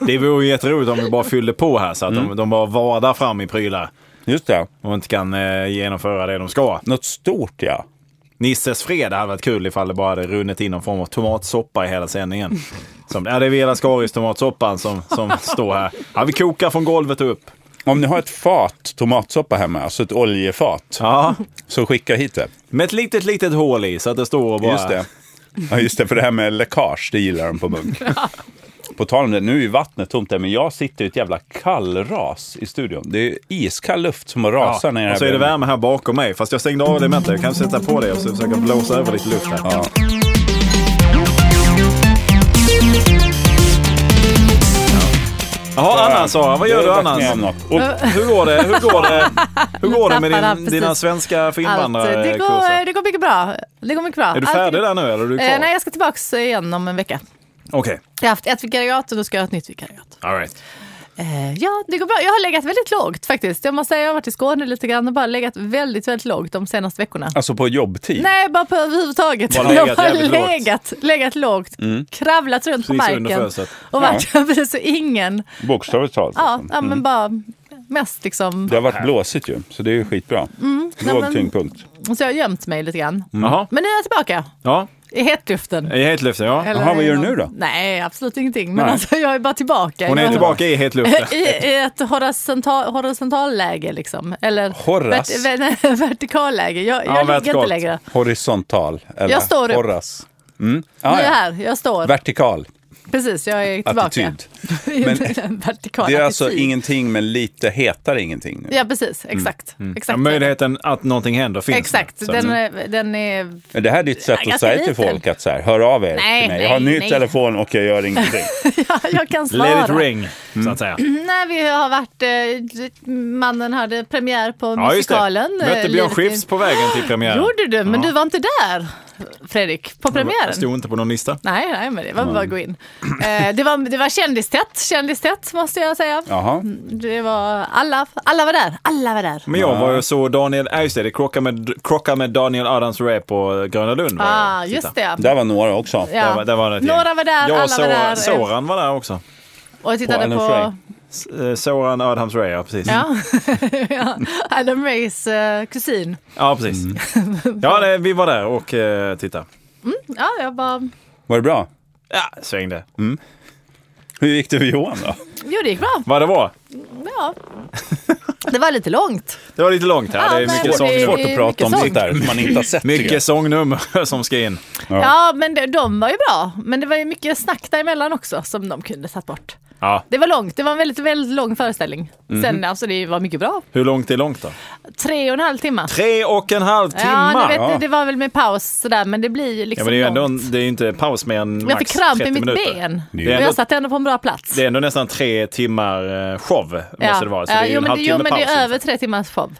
Speaker 1: Det vore ju jätteroligt om vi bara fyllde på här så att
Speaker 3: Mm.
Speaker 1: de, de bara vadar fram i prylar
Speaker 3: Just det,
Speaker 1: och inte kan eh, genomföra det de ska.
Speaker 3: något stort ja.
Speaker 1: Nisses fredag hade varit kul ifall det bara hade runnit in någon form av tomatsoppa i hela sändningen. Som, ja, det är Vela Skaris tomatsoppan som, som står här. Ja, vi kokar från golvet och upp.
Speaker 3: Om ni har ett fat tomatsoppa hemma, alltså ett oljefat,
Speaker 1: Ja,
Speaker 3: så skicka hit det.
Speaker 1: med ett litet, litet hål i så att det står och bara...
Speaker 3: Just det. Ja, just det, för det här med läckage, det gillar de på
Speaker 1: [laughs]
Speaker 3: Munk. På tal om det, nu är ju vattnet tomt där, men jag sitter i ett jävla kallras i studion. Det är iskall luft som har rasat ner
Speaker 1: Ja,
Speaker 3: här
Speaker 1: och så är det
Speaker 3: bredvid.
Speaker 1: värme här bakom mig. Fast jag stängde av det med Jag kan sätta på det och så försöka blåsa över lite luft här. Jaha, Anna Sara, vad gör du
Speaker 3: Jag har varit
Speaker 1: annars?
Speaker 3: med om något. Och
Speaker 1: Hur går det, hur går
Speaker 2: [laughs]
Speaker 1: det, hur går det
Speaker 2: Tappade
Speaker 1: med
Speaker 2: han
Speaker 1: din,
Speaker 2: precis
Speaker 1: dina svenska för
Speaker 2: Allt, eh, det, går,
Speaker 1: invandrare-kurser?
Speaker 2: det går mycket bra. Det går mycket bra.
Speaker 1: Är du
Speaker 2: Allt-
Speaker 1: färdig där nu eller är du kvar?
Speaker 2: Eh, nej, jag ska tillbaka igen om en vecka.
Speaker 1: Okej,
Speaker 2: Jag har haft ett vikariat och då ska jag ha ett nytt vikariat.
Speaker 1: all right.
Speaker 2: Eh, ja, det går bra. Jag har legat väldigt lågt faktiskt. Jag måste säga, jag har varit i Skåne lite grann och bara legat väldigt, väldigt lågt de senaste veckorna.
Speaker 3: Alltså på jobbtid?
Speaker 2: Nej, bara på överhuvudtaget. [laughs]
Speaker 1: Bara
Speaker 2: jag har
Speaker 1: legat
Speaker 2: bara
Speaker 1: jävligt lågt. Mm.
Speaker 2: legat, legat lågt, kravlat runt på
Speaker 1: Precis under
Speaker 2: marken
Speaker 1: fönstret.
Speaker 2: och varit precis [laughs] så ingen.
Speaker 3: Bokstavligt talat.
Speaker 2: Ja,
Speaker 3: alltså.
Speaker 2: ja
Speaker 1: Mm.
Speaker 2: men bara mest liksom.
Speaker 3: Det har varit blåsigt ju, så det är ju skitbra. Låg
Speaker 2: Mm, nej, men-
Speaker 3: tyngdpunkt.
Speaker 2: Så jag har gömt mig lite grann.
Speaker 1: Jaha,
Speaker 2: Men nu är jag tillbaka
Speaker 1: ja.
Speaker 2: i hetluften.
Speaker 1: I hetluften ja.
Speaker 2: Eller
Speaker 3: Jaha, vad gör du
Speaker 2: någon-
Speaker 3: nu då?
Speaker 2: Nej, absolut ingenting. Men
Speaker 3: Nej.
Speaker 2: alltså, jag är bara tillbaka.
Speaker 1: Hon är
Speaker 2: Jag-
Speaker 1: tillbaka
Speaker 2: [laughs]
Speaker 1: i hetluften.
Speaker 2: I, I ett horisontal, horisontalläge liksom. Eller
Speaker 3: Horras?
Speaker 2: vert, ver, [laughs] vertikalläge. Jag,
Speaker 1: Ja,
Speaker 2: jag ligger
Speaker 1: vertikalt.
Speaker 2: inte längre.
Speaker 3: Horisontal. Eller
Speaker 2: Jag står upp.
Speaker 3: Horras. Mm. Ah,
Speaker 2: nu är jag
Speaker 3: ja.
Speaker 2: här, jag står.
Speaker 3: Vertikal.
Speaker 2: Precis, jag är tillbaka.
Speaker 3: Attityd.
Speaker 2: [laughs] I
Speaker 3: Men-
Speaker 2: en vertikal
Speaker 3: Det är alltså
Speaker 2: attityd.
Speaker 3: ingenting, men lite hetare ingenting nu.
Speaker 2: Ja, precis. Exakt.
Speaker 1: Mm. Ja,
Speaker 2: Exakt.
Speaker 1: möjligheten att någonting händer finns. nu.
Speaker 2: Exakt.
Speaker 1: Så-
Speaker 2: Den, är, den är... [laughs]
Speaker 3: Men det här är ditt sätt
Speaker 2: Ja,
Speaker 3: att
Speaker 2: ganska
Speaker 3: säga till
Speaker 2: liten.
Speaker 3: folk att så här, hör av er
Speaker 2: Nej,
Speaker 3: till mig. Jag har en
Speaker 2: nej,
Speaker 3: ny
Speaker 2: nej.
Speaker 3: telefon och jag
Speaker 2: [laughs]
Speaker 3: gör ingenting.
Speaker 2: Ja, jag kan svara.
Speaker 1: Let it ring, så att säga.
Speaker 2: Nej, vi har varit... Eh, mannen hade premiär på
Speaker 1: Ja, just det.
Speaker 2: musikalen.
Speaker 1: Mötte
Speaker 2: eh,
Speaker 1: Björn
Speaker 2: Livet
Speaker 1: Skifs
Speaker 2: i-
Speaker 1: på vägen till premiären.
Speaker 2: Gjorde du? Men
Speaker 1: Ja.
Speaker 2: du var inte där, Fredrik, på premiären.
Speaker 1: Jag stod inte på någon lista.
Speaker 2: Nej, nej, men det var
Speaker 1: Mm.
Speaker 2: bara att gå in. Eh, det var, det var kändistätt, kändistätt måste jag säga.
Speaker 3: Jaha.
Speaker 2: Det var alla, alla var där, alla var där.
Speaker 1: Men jag var ju så Daniel, ja just det, det krockade med, krockade med Daniel Adams Ray på Gröna Lund. var jag
Speaker 2: ah,
Speaker 1: och
Speaker 2: just
Speaker 1: tittade.
Speaker 2: det. Ja.
Speaker 3: Där var några också.
Speaker 1: Där var, där var det ett gäng.
Speaker 2: Några var där,
Speaker 1: jag
Speaker 2: alla
Speaker 1: så,
Speaker 2: var där. eh.
Speaker 1: Soran var där också.
Speaker 2: Och jag tittade
Speaker 3: Adam
Speaker 2: på,
Speaker 3: Frey.
Speaker 1: S- eh, Soran Adams Ray, ja precis. Ja,
Speaker 2: ja, [laughs] Ja, Adam Rays eh, kusin.
Speaker 1: precis.
Speaker 2: [laughs]
Speaker 1: Ja, det, vi var där och eh, tittade.
Speaker 2: Ja, jag bara,
Speaker 3: Var det bra?
Speaker 1: Ja, svängde.
Speaker 3: Hur gick det för Johan då?
Speaker 2: jo det gick bra.
Speaker 1: Vad det var?
Speaker 2: Ja. Det var lite långt.
Speaker 1: Det var lite långt här.
Speaker 2: Ja,
Speaker 1: det är
Speaker 2: men-
Speaker 1: mycket
Speaker 2: det är-
Speaker 1: sångnummer.
Speaker 3: Svårt att prata om
Speaker 2: mycket
Speaker 3: sånt där som man inte har sett. tycker jag.
Speaker 1: Mycket sångnummer [laughs] som ska in.
Speaker 2: Ja, men de, de var ju bra. Men det var ju mycket snack däremellan också som de kunde satt bort.
Speaker 1: Ja.
Speaker 2: Det var långt, det var en väldigt, väldigt lång föreställning.
Speaker 1: Mhm.
Speaker 2: Sen alltså det var mycket bra.
Speaker 1: Hur långt är långt då?
Speaker 2: Tre och en halv timme.
Speaker 1: Tre och en halv timme!
Speaker 2: Ja, ni vet,
Speaker 3: Ja.
Speaker 2: det var väl med paus sådär, men det blir ju
Speaker 1: Ja,
Speaker 2: liksom
Speaker 1: men det är ju ändå
Speaker 2: långt.
Speaker 1: en, det är ju inte paus med en max
Speaker 2: Jag fick kramp i
Speaker 1: 30
Speaker 2: mitt
Speaker 1: minuter.
Speaker 2: ben.
Speaker 1: Det
Speaker 2: Och
Speaker 1: är ändå
Speaker 2: jag satt ändå på en bra plats.
Speaker 1: Det är ändå nästan tre timmar eh, show måste det vara. Så
Speaker 2: Ja,
Speaker 1: det är ju
Speaker 2: jo, men
Speaker 1: en
Speaker 2: det,
Speaker 1: halvtimme
Speaker 2: jo, men det
Speaker 1: paus. liksom.
Speaker 2: är över tre timmars show.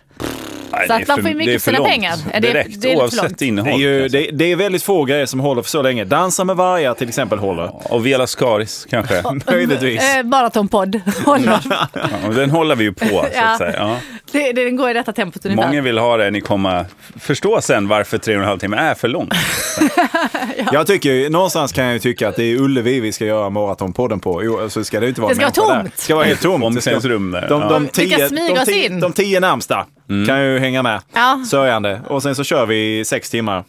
Speaker 3: Nej,
Speaker 2: Så
Speaker 3: det är
Speaker 2: att man
Speaker 3: för-
Speaker 2: får ju
Speaker 3: det är
Speaker 2: mycket
Speaker 3: för
Speaker 2: för sina
Speaker 3: långt.
Speaker 2: pengar. Det är-
Speaker 3: Direkt,
Speaker 2: det är lite för
Speaker 3: oavsett
Speaker 2: långt.
Speaker 1: Det
Speaker 3: innehåll.
Speaker 1: är, ju,
Speaker 3: kanske.
Speaker 1: det, det är väldigt få grejer som håller för så länge. Dansa med vargar till
Speaker 2: [laughs]
Speaker 1: exempel håller.
Speaker 3: Och Vela Skaris kanske.
Speaker 1: Möjligtvis.
Speaker 2: Eh,
Speaker 1: [laughs]
Speaker 2: Maratonpodd. Håller.
Speaker 3: Ja, och den håller vi ju på, så att
Speaker 2: [laughs] Ja.
Speaker 3: säga. Ja.
Speaker 2: det, det, den går i detta tempot ungefär.
Speaker 3: Många vill ha det, ni kommer förstå sen varför tre och en halv timme är för långt.
Speaker 1: Jag tycker ju, någonstans kan jag ju tycka att det är Ullevi vi ska göra maratonpodden på. Jo, så ska det ju inte
Speaker 2: Det
Speaker 1: vara
Speaker 2: ska
Speaker 1: en
Speaker 2: vara
Speaker 1: människa där.
Speaker 2: tomt.
Speaker 1: Det ska vara helt tomt.
Speaker 3: Omklädningsrum där,
Speaker 1: De,
Speaker 3: ja.
Speaker 1: de,
Speaker 2: Vi kan
Speaker 1: tio,
Speaker 2: smyga
Speaker 1: de,
Speaker 2: oss
Speaker 1: tio,
Speaker 2: in.
Speaker 1: de tio närmsta kan ju hänga med.
Speaker 2: Ja.
Speaker 1: Sörjande. Och sen så kör vi i sex timmar.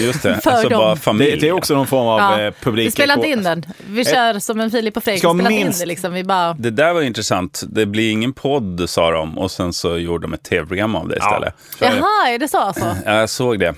Speaker 3: Just det,
Speaker 2: För
Speaker 3: alltså
Speaker 2: dem.
Speaker 3: bara
Speaker 1: Det,
Speaker 3: familj.
Speaker 1: det är också någon form av
Speaker 2: Ja.
Speaker 1: eh, publik.
Speaker 2: Vi spelar inte in den. Vi kör som en Filip och Fredrik. Vi
Speaker 1: Ska
Speaker 2: spelar inte in
Speaker 1: minst-
Speaker 2: det liksom. Vi bara...
Speaker 3: Det där var ju intressant. Det blir ingen podd, sa de. Och sen så gjorde de ett tv-program av det istället.
Speaker 1: kör det.
Speaker 2: Jaha, är det så alltså?
Speaker 3: Ja. Jag såg det.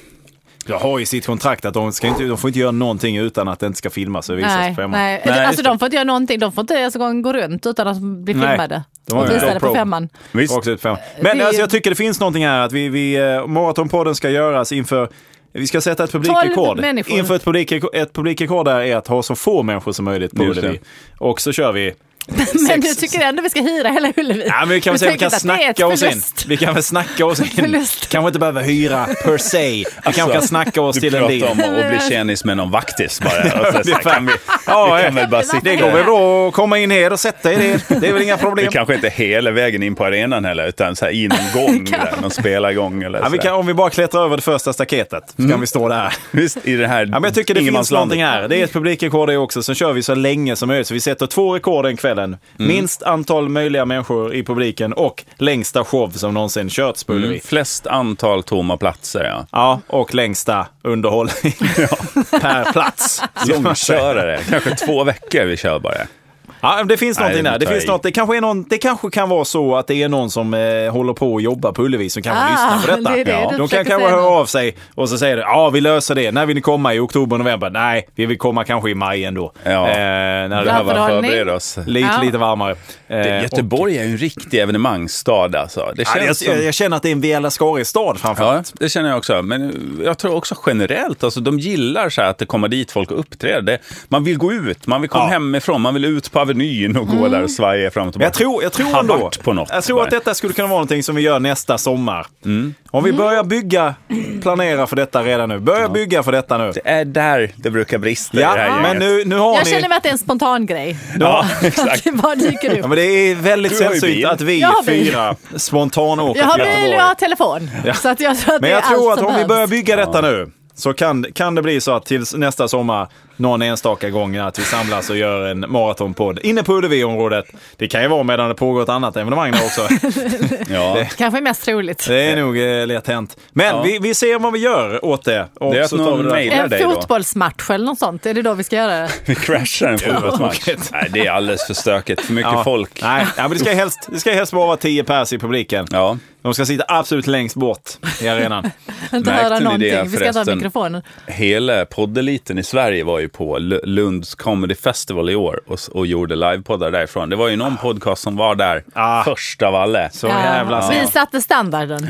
Speaker 1: Jag har i sitt kontrakt att de, ska inte, de får inte göra någonting utan att det inte ska filmas och visas
Speaker 2: Nej,
Speaker 1: på femman.
Speaker 2: nej.
Speaker 3: Nej, just
Speaker 2: alltså
Speaker 3: det.
Speaker 2: de får inte göra någonting. De får inte ens en gång gå runt utan att bli
Speaker 1: Nej.
Speaker 2: filmade.
Speaker 1: De har
Speaker 2: och
Speaker 1: ju
Speaker 2: visade
Speaker 1: GoPro.
Speaker 2: på femman.
Speaker 3: Visst.
Speaker 1: Rakt ut på. Men
Speaker 2: Det är
Speaker 1: alltså,
Speaker 2: ju-
Speaker 1: jag tycker det finns någonting här att vi, vi eh, Maratonpodden ska göras inför vi ska sätta ett
Speaker 2: Tolv
Speaker 1: publikrekord.
Speaker 2: människor.
Speaker 1: Inför ett, publikreko- ett publikrekord där är att ha så få människor som möjligt på
Speaker 3: Just det.
Speaker 1: Ullevi. Och så kör vi.
Speaker 2: Men
Speaker 1: Sex-
Speaker 2: du tycker ändå vi ska hyra hela Ullevi?
Speaker 1: Ja, men vi kan
Speaker 2: Du
Speaker 1: väl säga att
Speaker 2: tänker
Speaker 1: vi kan
Speaker 2: inte att det är ett
Speaker 1: snacka oss in.
Speaker 2: förlust?
Speaker 1: Vi kan väl snacka oss in.
Speaker 2: Förlust.
Speaker 1: Kanske inte behöva hyra per se. Vi kanske kan snacka oss
Speaker 3: Alltså, Du
Speaker 1: till en deal.
Speaker 3: pratar om att bli kändis med någon vaktis bara.
Speaker 1: [laughs]
Speaker 3: Och så, så här, kan vi,
Speaker 1: Ja,
Speaker 3: vi
Speaker 1: eh,
Speaker 3: kan väl bara
Speaker 2: Det
Speaker 3: sitta
Speaker 1: Det går
Speaker 3: här.
Speaker 1: väl bra att komma in här och sätta er ner. Det är väl inga
Speaker 3: Det
Speaker 1: problem.
Speaker 3: kanske inte är hela vägen in på arenan heller, utan så här in en
Speaker 1: [laughs]
Speaker 3: gång, där, någon spelargång eller
Speaker 1: Ja, vi
Speaker 3: så
Speaker 1: kan,
Speaker 3: där.
Speaker 1: om vi bara klättrar över det första staketet så kan vi stå där.
Speaker 3: Visst, i det här
Speaker 1: Mm. Ja, men jag tycker det finns
Speaker 3: ingenmanslandet.
Speaker 1: någonting här. Det är ett publikrekord det också. Sen kör vi så länge som möjligt. Så vi sätter två rekord den kvällen. Minst antal möjliga människor i publiken och längsta show som någonsin körts på Ullevi.
Speaker 3: Mm. Flest antal tomma platser, ja.
Speaker 1: Ja, och längsta [laughs] underhållning per plats.
Speaker 3: Långkörare, kanske två veckor vi kör bara.
Speaker 1: Ja, men det finns
Speaker 3: Nej,
Speaker 1: någonting
Speaker 3: det
Speaker 1: där. Det,
Speaker 3: tar
Speaker 1: finns
Speaker 3: jag i.
Speaker 1: något, det, kanske är någon, det kanske kan vara så att det är någon som eh, håller på att jobba på Ullevi som kanske
Speaker 2: Ah,
Speaker 1: lyssnar på
Speaker 2: [laughs]
Speaker 1: detta.
Speaker 2: det är det du
Speaker 1: De kan
Speaker 2: försöker
Speaker 1: kanske
Speaker 2: säga
Speaker 1: höra
Speaker 2: nu.
Speaker 1: av sig och så säger de ja vi löser det. När vill ni komma? I oktober, november? Nej, vi vill komma kanske i maj ändå.
Speaker 3: Ja.
Speaker 1: Eh, när
Speaker 3: Det
Speaker 1: det
Speaker 3: här var
Speaker 2: Underhållning.
Speaker 3: förbered oss.
Speaker 1: Lite,
Speaker 2: Ja.
Speaker 1: lite varmare. Eh,
Speaker 3: Göteborg är ju en riktig evenemangsstad alltså. Det
Speaker 1: och- Ja, jag,
Speaker 3: känns som...
Speaker 1: jag, jag känner att det är en Vela Skaris-stad framförallt.
Speaker 3: Ja, det känner jag också. Men jag tror också generellt, alltså de gillar så här att det kommer dit folk och uppträder. Det- Man vill gå ut, man vill komma
Speaker 1: Ja. Mm.
Speaker 3: hemifrån, man vill ut på Avenyn och gå där och svaja fram och tillbaka.
Speaker 1: Jag tror, jag tror
Speaker 3: Har
Speaker 1: ändå
Speaker 3: varit på något.
Speaker 1: jag tror att
Speaker 3: Bara.
Speaker 1: detta skulle kunna vara någonting som vi gör nästa sommar.
Speaker 3: Mm.
Speaker 1: Om
Speaker 2: Mm.
Speaker 1: vi börjar bygga, planera för detta redan nu. Börja bygga för detta nu.
Speaker 3: Det är där det brukar brista i det här
Speaker 1: Ja,
Speaker 3: gänget.
Speaker 1: men nu, nu har
Speaker 2: Jag
Speaker 1: ni...
Speaker 2: känner mig att det är en spontan grej.
Speaker 3: Ja,
Speaker 1: [laughs]
Speaker 2: Att [laughs]
Speaker 3: exakt.
Speaker 2: det bara dyker upp.
Speaker 1: Ja, men det är väldigt
Speaker 3: Du har ju
Speaker 1: sällsynt
Speaker 3: bil.
Speaker 1: att vi
Speaker 2: Jag har bil.
Speaker 1: fyra spontanåker
Speaker 2: Jag har
Speaker 1: till
Speaker 2: bil och
Speaker 1: Göteborg.
Speaker 2: jag har telefon. Så att jag tror att
Speaker 1: Men
Speaker 2: det är
Speaker 1: jag tror
Speaker 2: allt
Speaker 1: att
Speaker 2: som
Speaker 1: om vi
Speaker 2: behövs.
Speaker 1: börjar bygga detta nu så kan, kan det bli så att till nästa sommar någon enstaka gång att vi samlas och gör en maratonpodd inne på Ullevi-området. Det kan ju vara medan det pågår ett annat evenemang
Speaker 3: [laughs]
Speaker 1: där också.
Speaker 3: Ja.
Speaker 2: Kanske mest troligt.
Speaker 1: Det är nog eh, lätt hänt. Men
Speaker 3: Ja.
Speaker 1: vi, vi ser vad vi gör åt det. Och
Speaker 3: Det är att
Speaker 1: så tar vi
Speaker 3: någon
Speaker 1: det där.
Speaker 3: mejlar
Speaker 2: En
Speaker 3: dig då.
Speaker 2: fotbollsmatch eller något sånt. Är det då vi ska göra det? [laughs]
Speaker 3: Vi crashar
Speaker 1: [laughs]
Speaker 3: en fotbollsmatch.
Speaker 1: Tråkigt.
Speaker 3: Nej, det är alldeles för stökigt. För mycket
Speaker 1: Ja.
Speaker 3: folk.
Speaker 1: Nej, ja, men det ska helst, det ska helst bara vara 10 pers i publiken.
Speaker 3: Ja.
Speaker 1: De ska sitta absolut längst bort i arenan.
Speaker 2: Inte
Speaker 3: Märkte ni
Speaker 2: höra
Speaker 3: det
Speaker 2: någonting. vi ska inte ha
Speaker 3: förresten?
Speaker 2: mikrofonen.
Speaker 3: Hela poddeliten i Sverige var ju på L- Lunds Comedy Festival i år och, s- och gjorde livepoddar därifrån. Det var ju någon podcast som var där
Speaker 1: Ah.
Speaker 3: först av alla.
Speaker 1: Så jävla
Speaker 2: Ja. Vi satte standarden.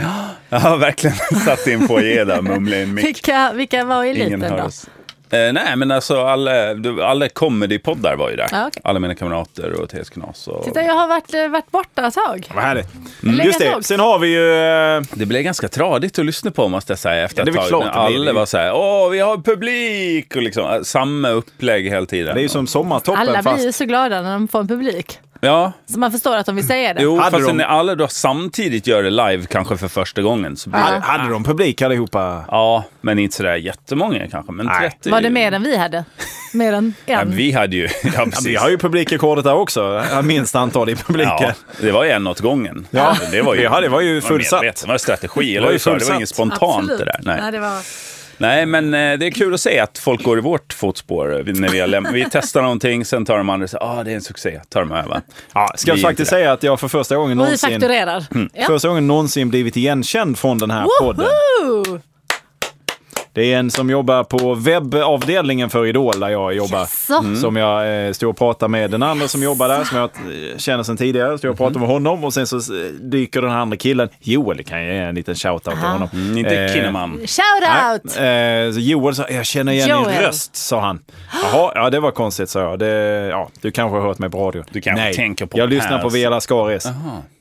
Speaker 3: Ja, verkligen. [laughs] Satt i en foyer där, mumlade i en mick.
Speaker 2: Vilka, vilka var i eliten
Speaker 3: Ingen hör
Speaker 2: då?
Speaker 3: oss. Eh, nej, men alltså alla, du- alla comedypoddar var ju där.
Speaker 2: Ja, Ah, okej.
Speaker 3: Alla mina kamrater och TS Knas. Och...
Speaker 2: Titta, jag har varit, eh, varit borta ett tag.
Speaker 1: Vad härligt.
Speaker 2: Lägga
Speaker 1: Just det,
Speaker 2: tag.
Speaker 1: sen har vi ju... eh,
Speaker 3: Det blev ganska tradigt att lyssna på måste jag säga efter
Speaker 1: Ja, det är
Speaker 3: ett
Speaker 1: väl
Speaker 3: tag.
Speaker 1: klart
Speaker 3: När
Speaker 1: det blir.
Speaker 3: alla var så här, åh vi har publik! Och liksom, eh, samma upplägg hela tiden.
Speaker 1: Det är ju som sommartoppen
Speaker 2: Alla blir
Speaker 1: fast...
Speaker 2: ju så glada när de får en publik.
Speaker 3: Ja,
Speaker 2: Så man förstår att de vill säga det.
Speaker 3: jo,
Speaker 1: Hade
Speaker 3: fast
Speaker 1: de-
Speaker 3: sen när alla då samtidigt gör det live kanske för första gången så blir
Speaker 1: Hade,
Speaker 3: det...
Speaker 1: hade de publik allihopa?
Speaker 3: Ja, men inte sådär jättemånga kanske. Men
Speaker 1: Nej.
Speaker 3: 30...
Speaker 2: Var det mer än vi hade? Mer än
Speaker 3: [laughs] Ja,
Speaker 2: en?
Speaker 3: vi hade ju... Ja,
Speaker 1: Ja,
Speaker 3: precis.
Speaker 1: vi har ju publikrekordet där också. Minst antal i publiken.
Speaker 3: Ja, det var ju en åt gången.
Speaker 1: Ja.
Speaker 3: det var ju,
Speaker 1: Ja, det var ju fullsatt.
Speaker 3: medvetet. Det var en strategi, eller
Speaker 1: var ju
Speaker 3: hur? sa du? Det var
Speaker 1: fullsatt.
Speaker 3: inget spontant det där. Nej.
Speaker 2: Nej, det var...
Speaker 3: Nej, men eh, det är kul att se att folk går i vårt fotspår. eh, När vi, har läm- vi testar någonting, sen tar de andra och säger ah, det är en succé. Tar de över.
Speaker 1: Ja, ska jag
Speaker 3: Vi-
Speaker 1: faktiskt säga att jag för första gången
Speaker 2: Och vi
Speaker 1: någonsin,
Speaker 3: Mm.
Speaker 2: fakturerar. Ja.
Speaker 1: första gången någonsin blivit igenkänd från den här podden.
Speaker 2: Woho!
Speaker 1: Det är en som jobbar på webbavdelningen för Idol där jag jobbar.
Speaker 2: Jaså?
Speaker 1: Som jag eh, stod och pratade med den andra som jobbar där, som jag eh, känner sedan tidigare. Stod och
Speaker 3: Mhm.
Speaker 1: pratade med honom och sen så eh, dyker den här andra killen, Joel kan jag ge en liten shout-out till
Speaker 2: Aha.
Speaker 1: honom.
Speaker 3: Mm, inte
Speaker 1: Eh,
Speaker 3: Kinnaman.
Speaker 2: Shout out!
Speaker 1: Nej, eh, så Joel sa, jag känner igen din
Speaker 2: Joel.
Speaker 1: röst, sa han. Jaha, ja det var konstigt, sa jag. Det, ja, du kanske har hört mig på radio.
Speaker 3: Du kanske
Speaker 1: Nej,
Speaker 3: tänker på
Speaker 1: jag lyssnar på
Speaker 3: Pers.
Speaker 1: Vela Skaris.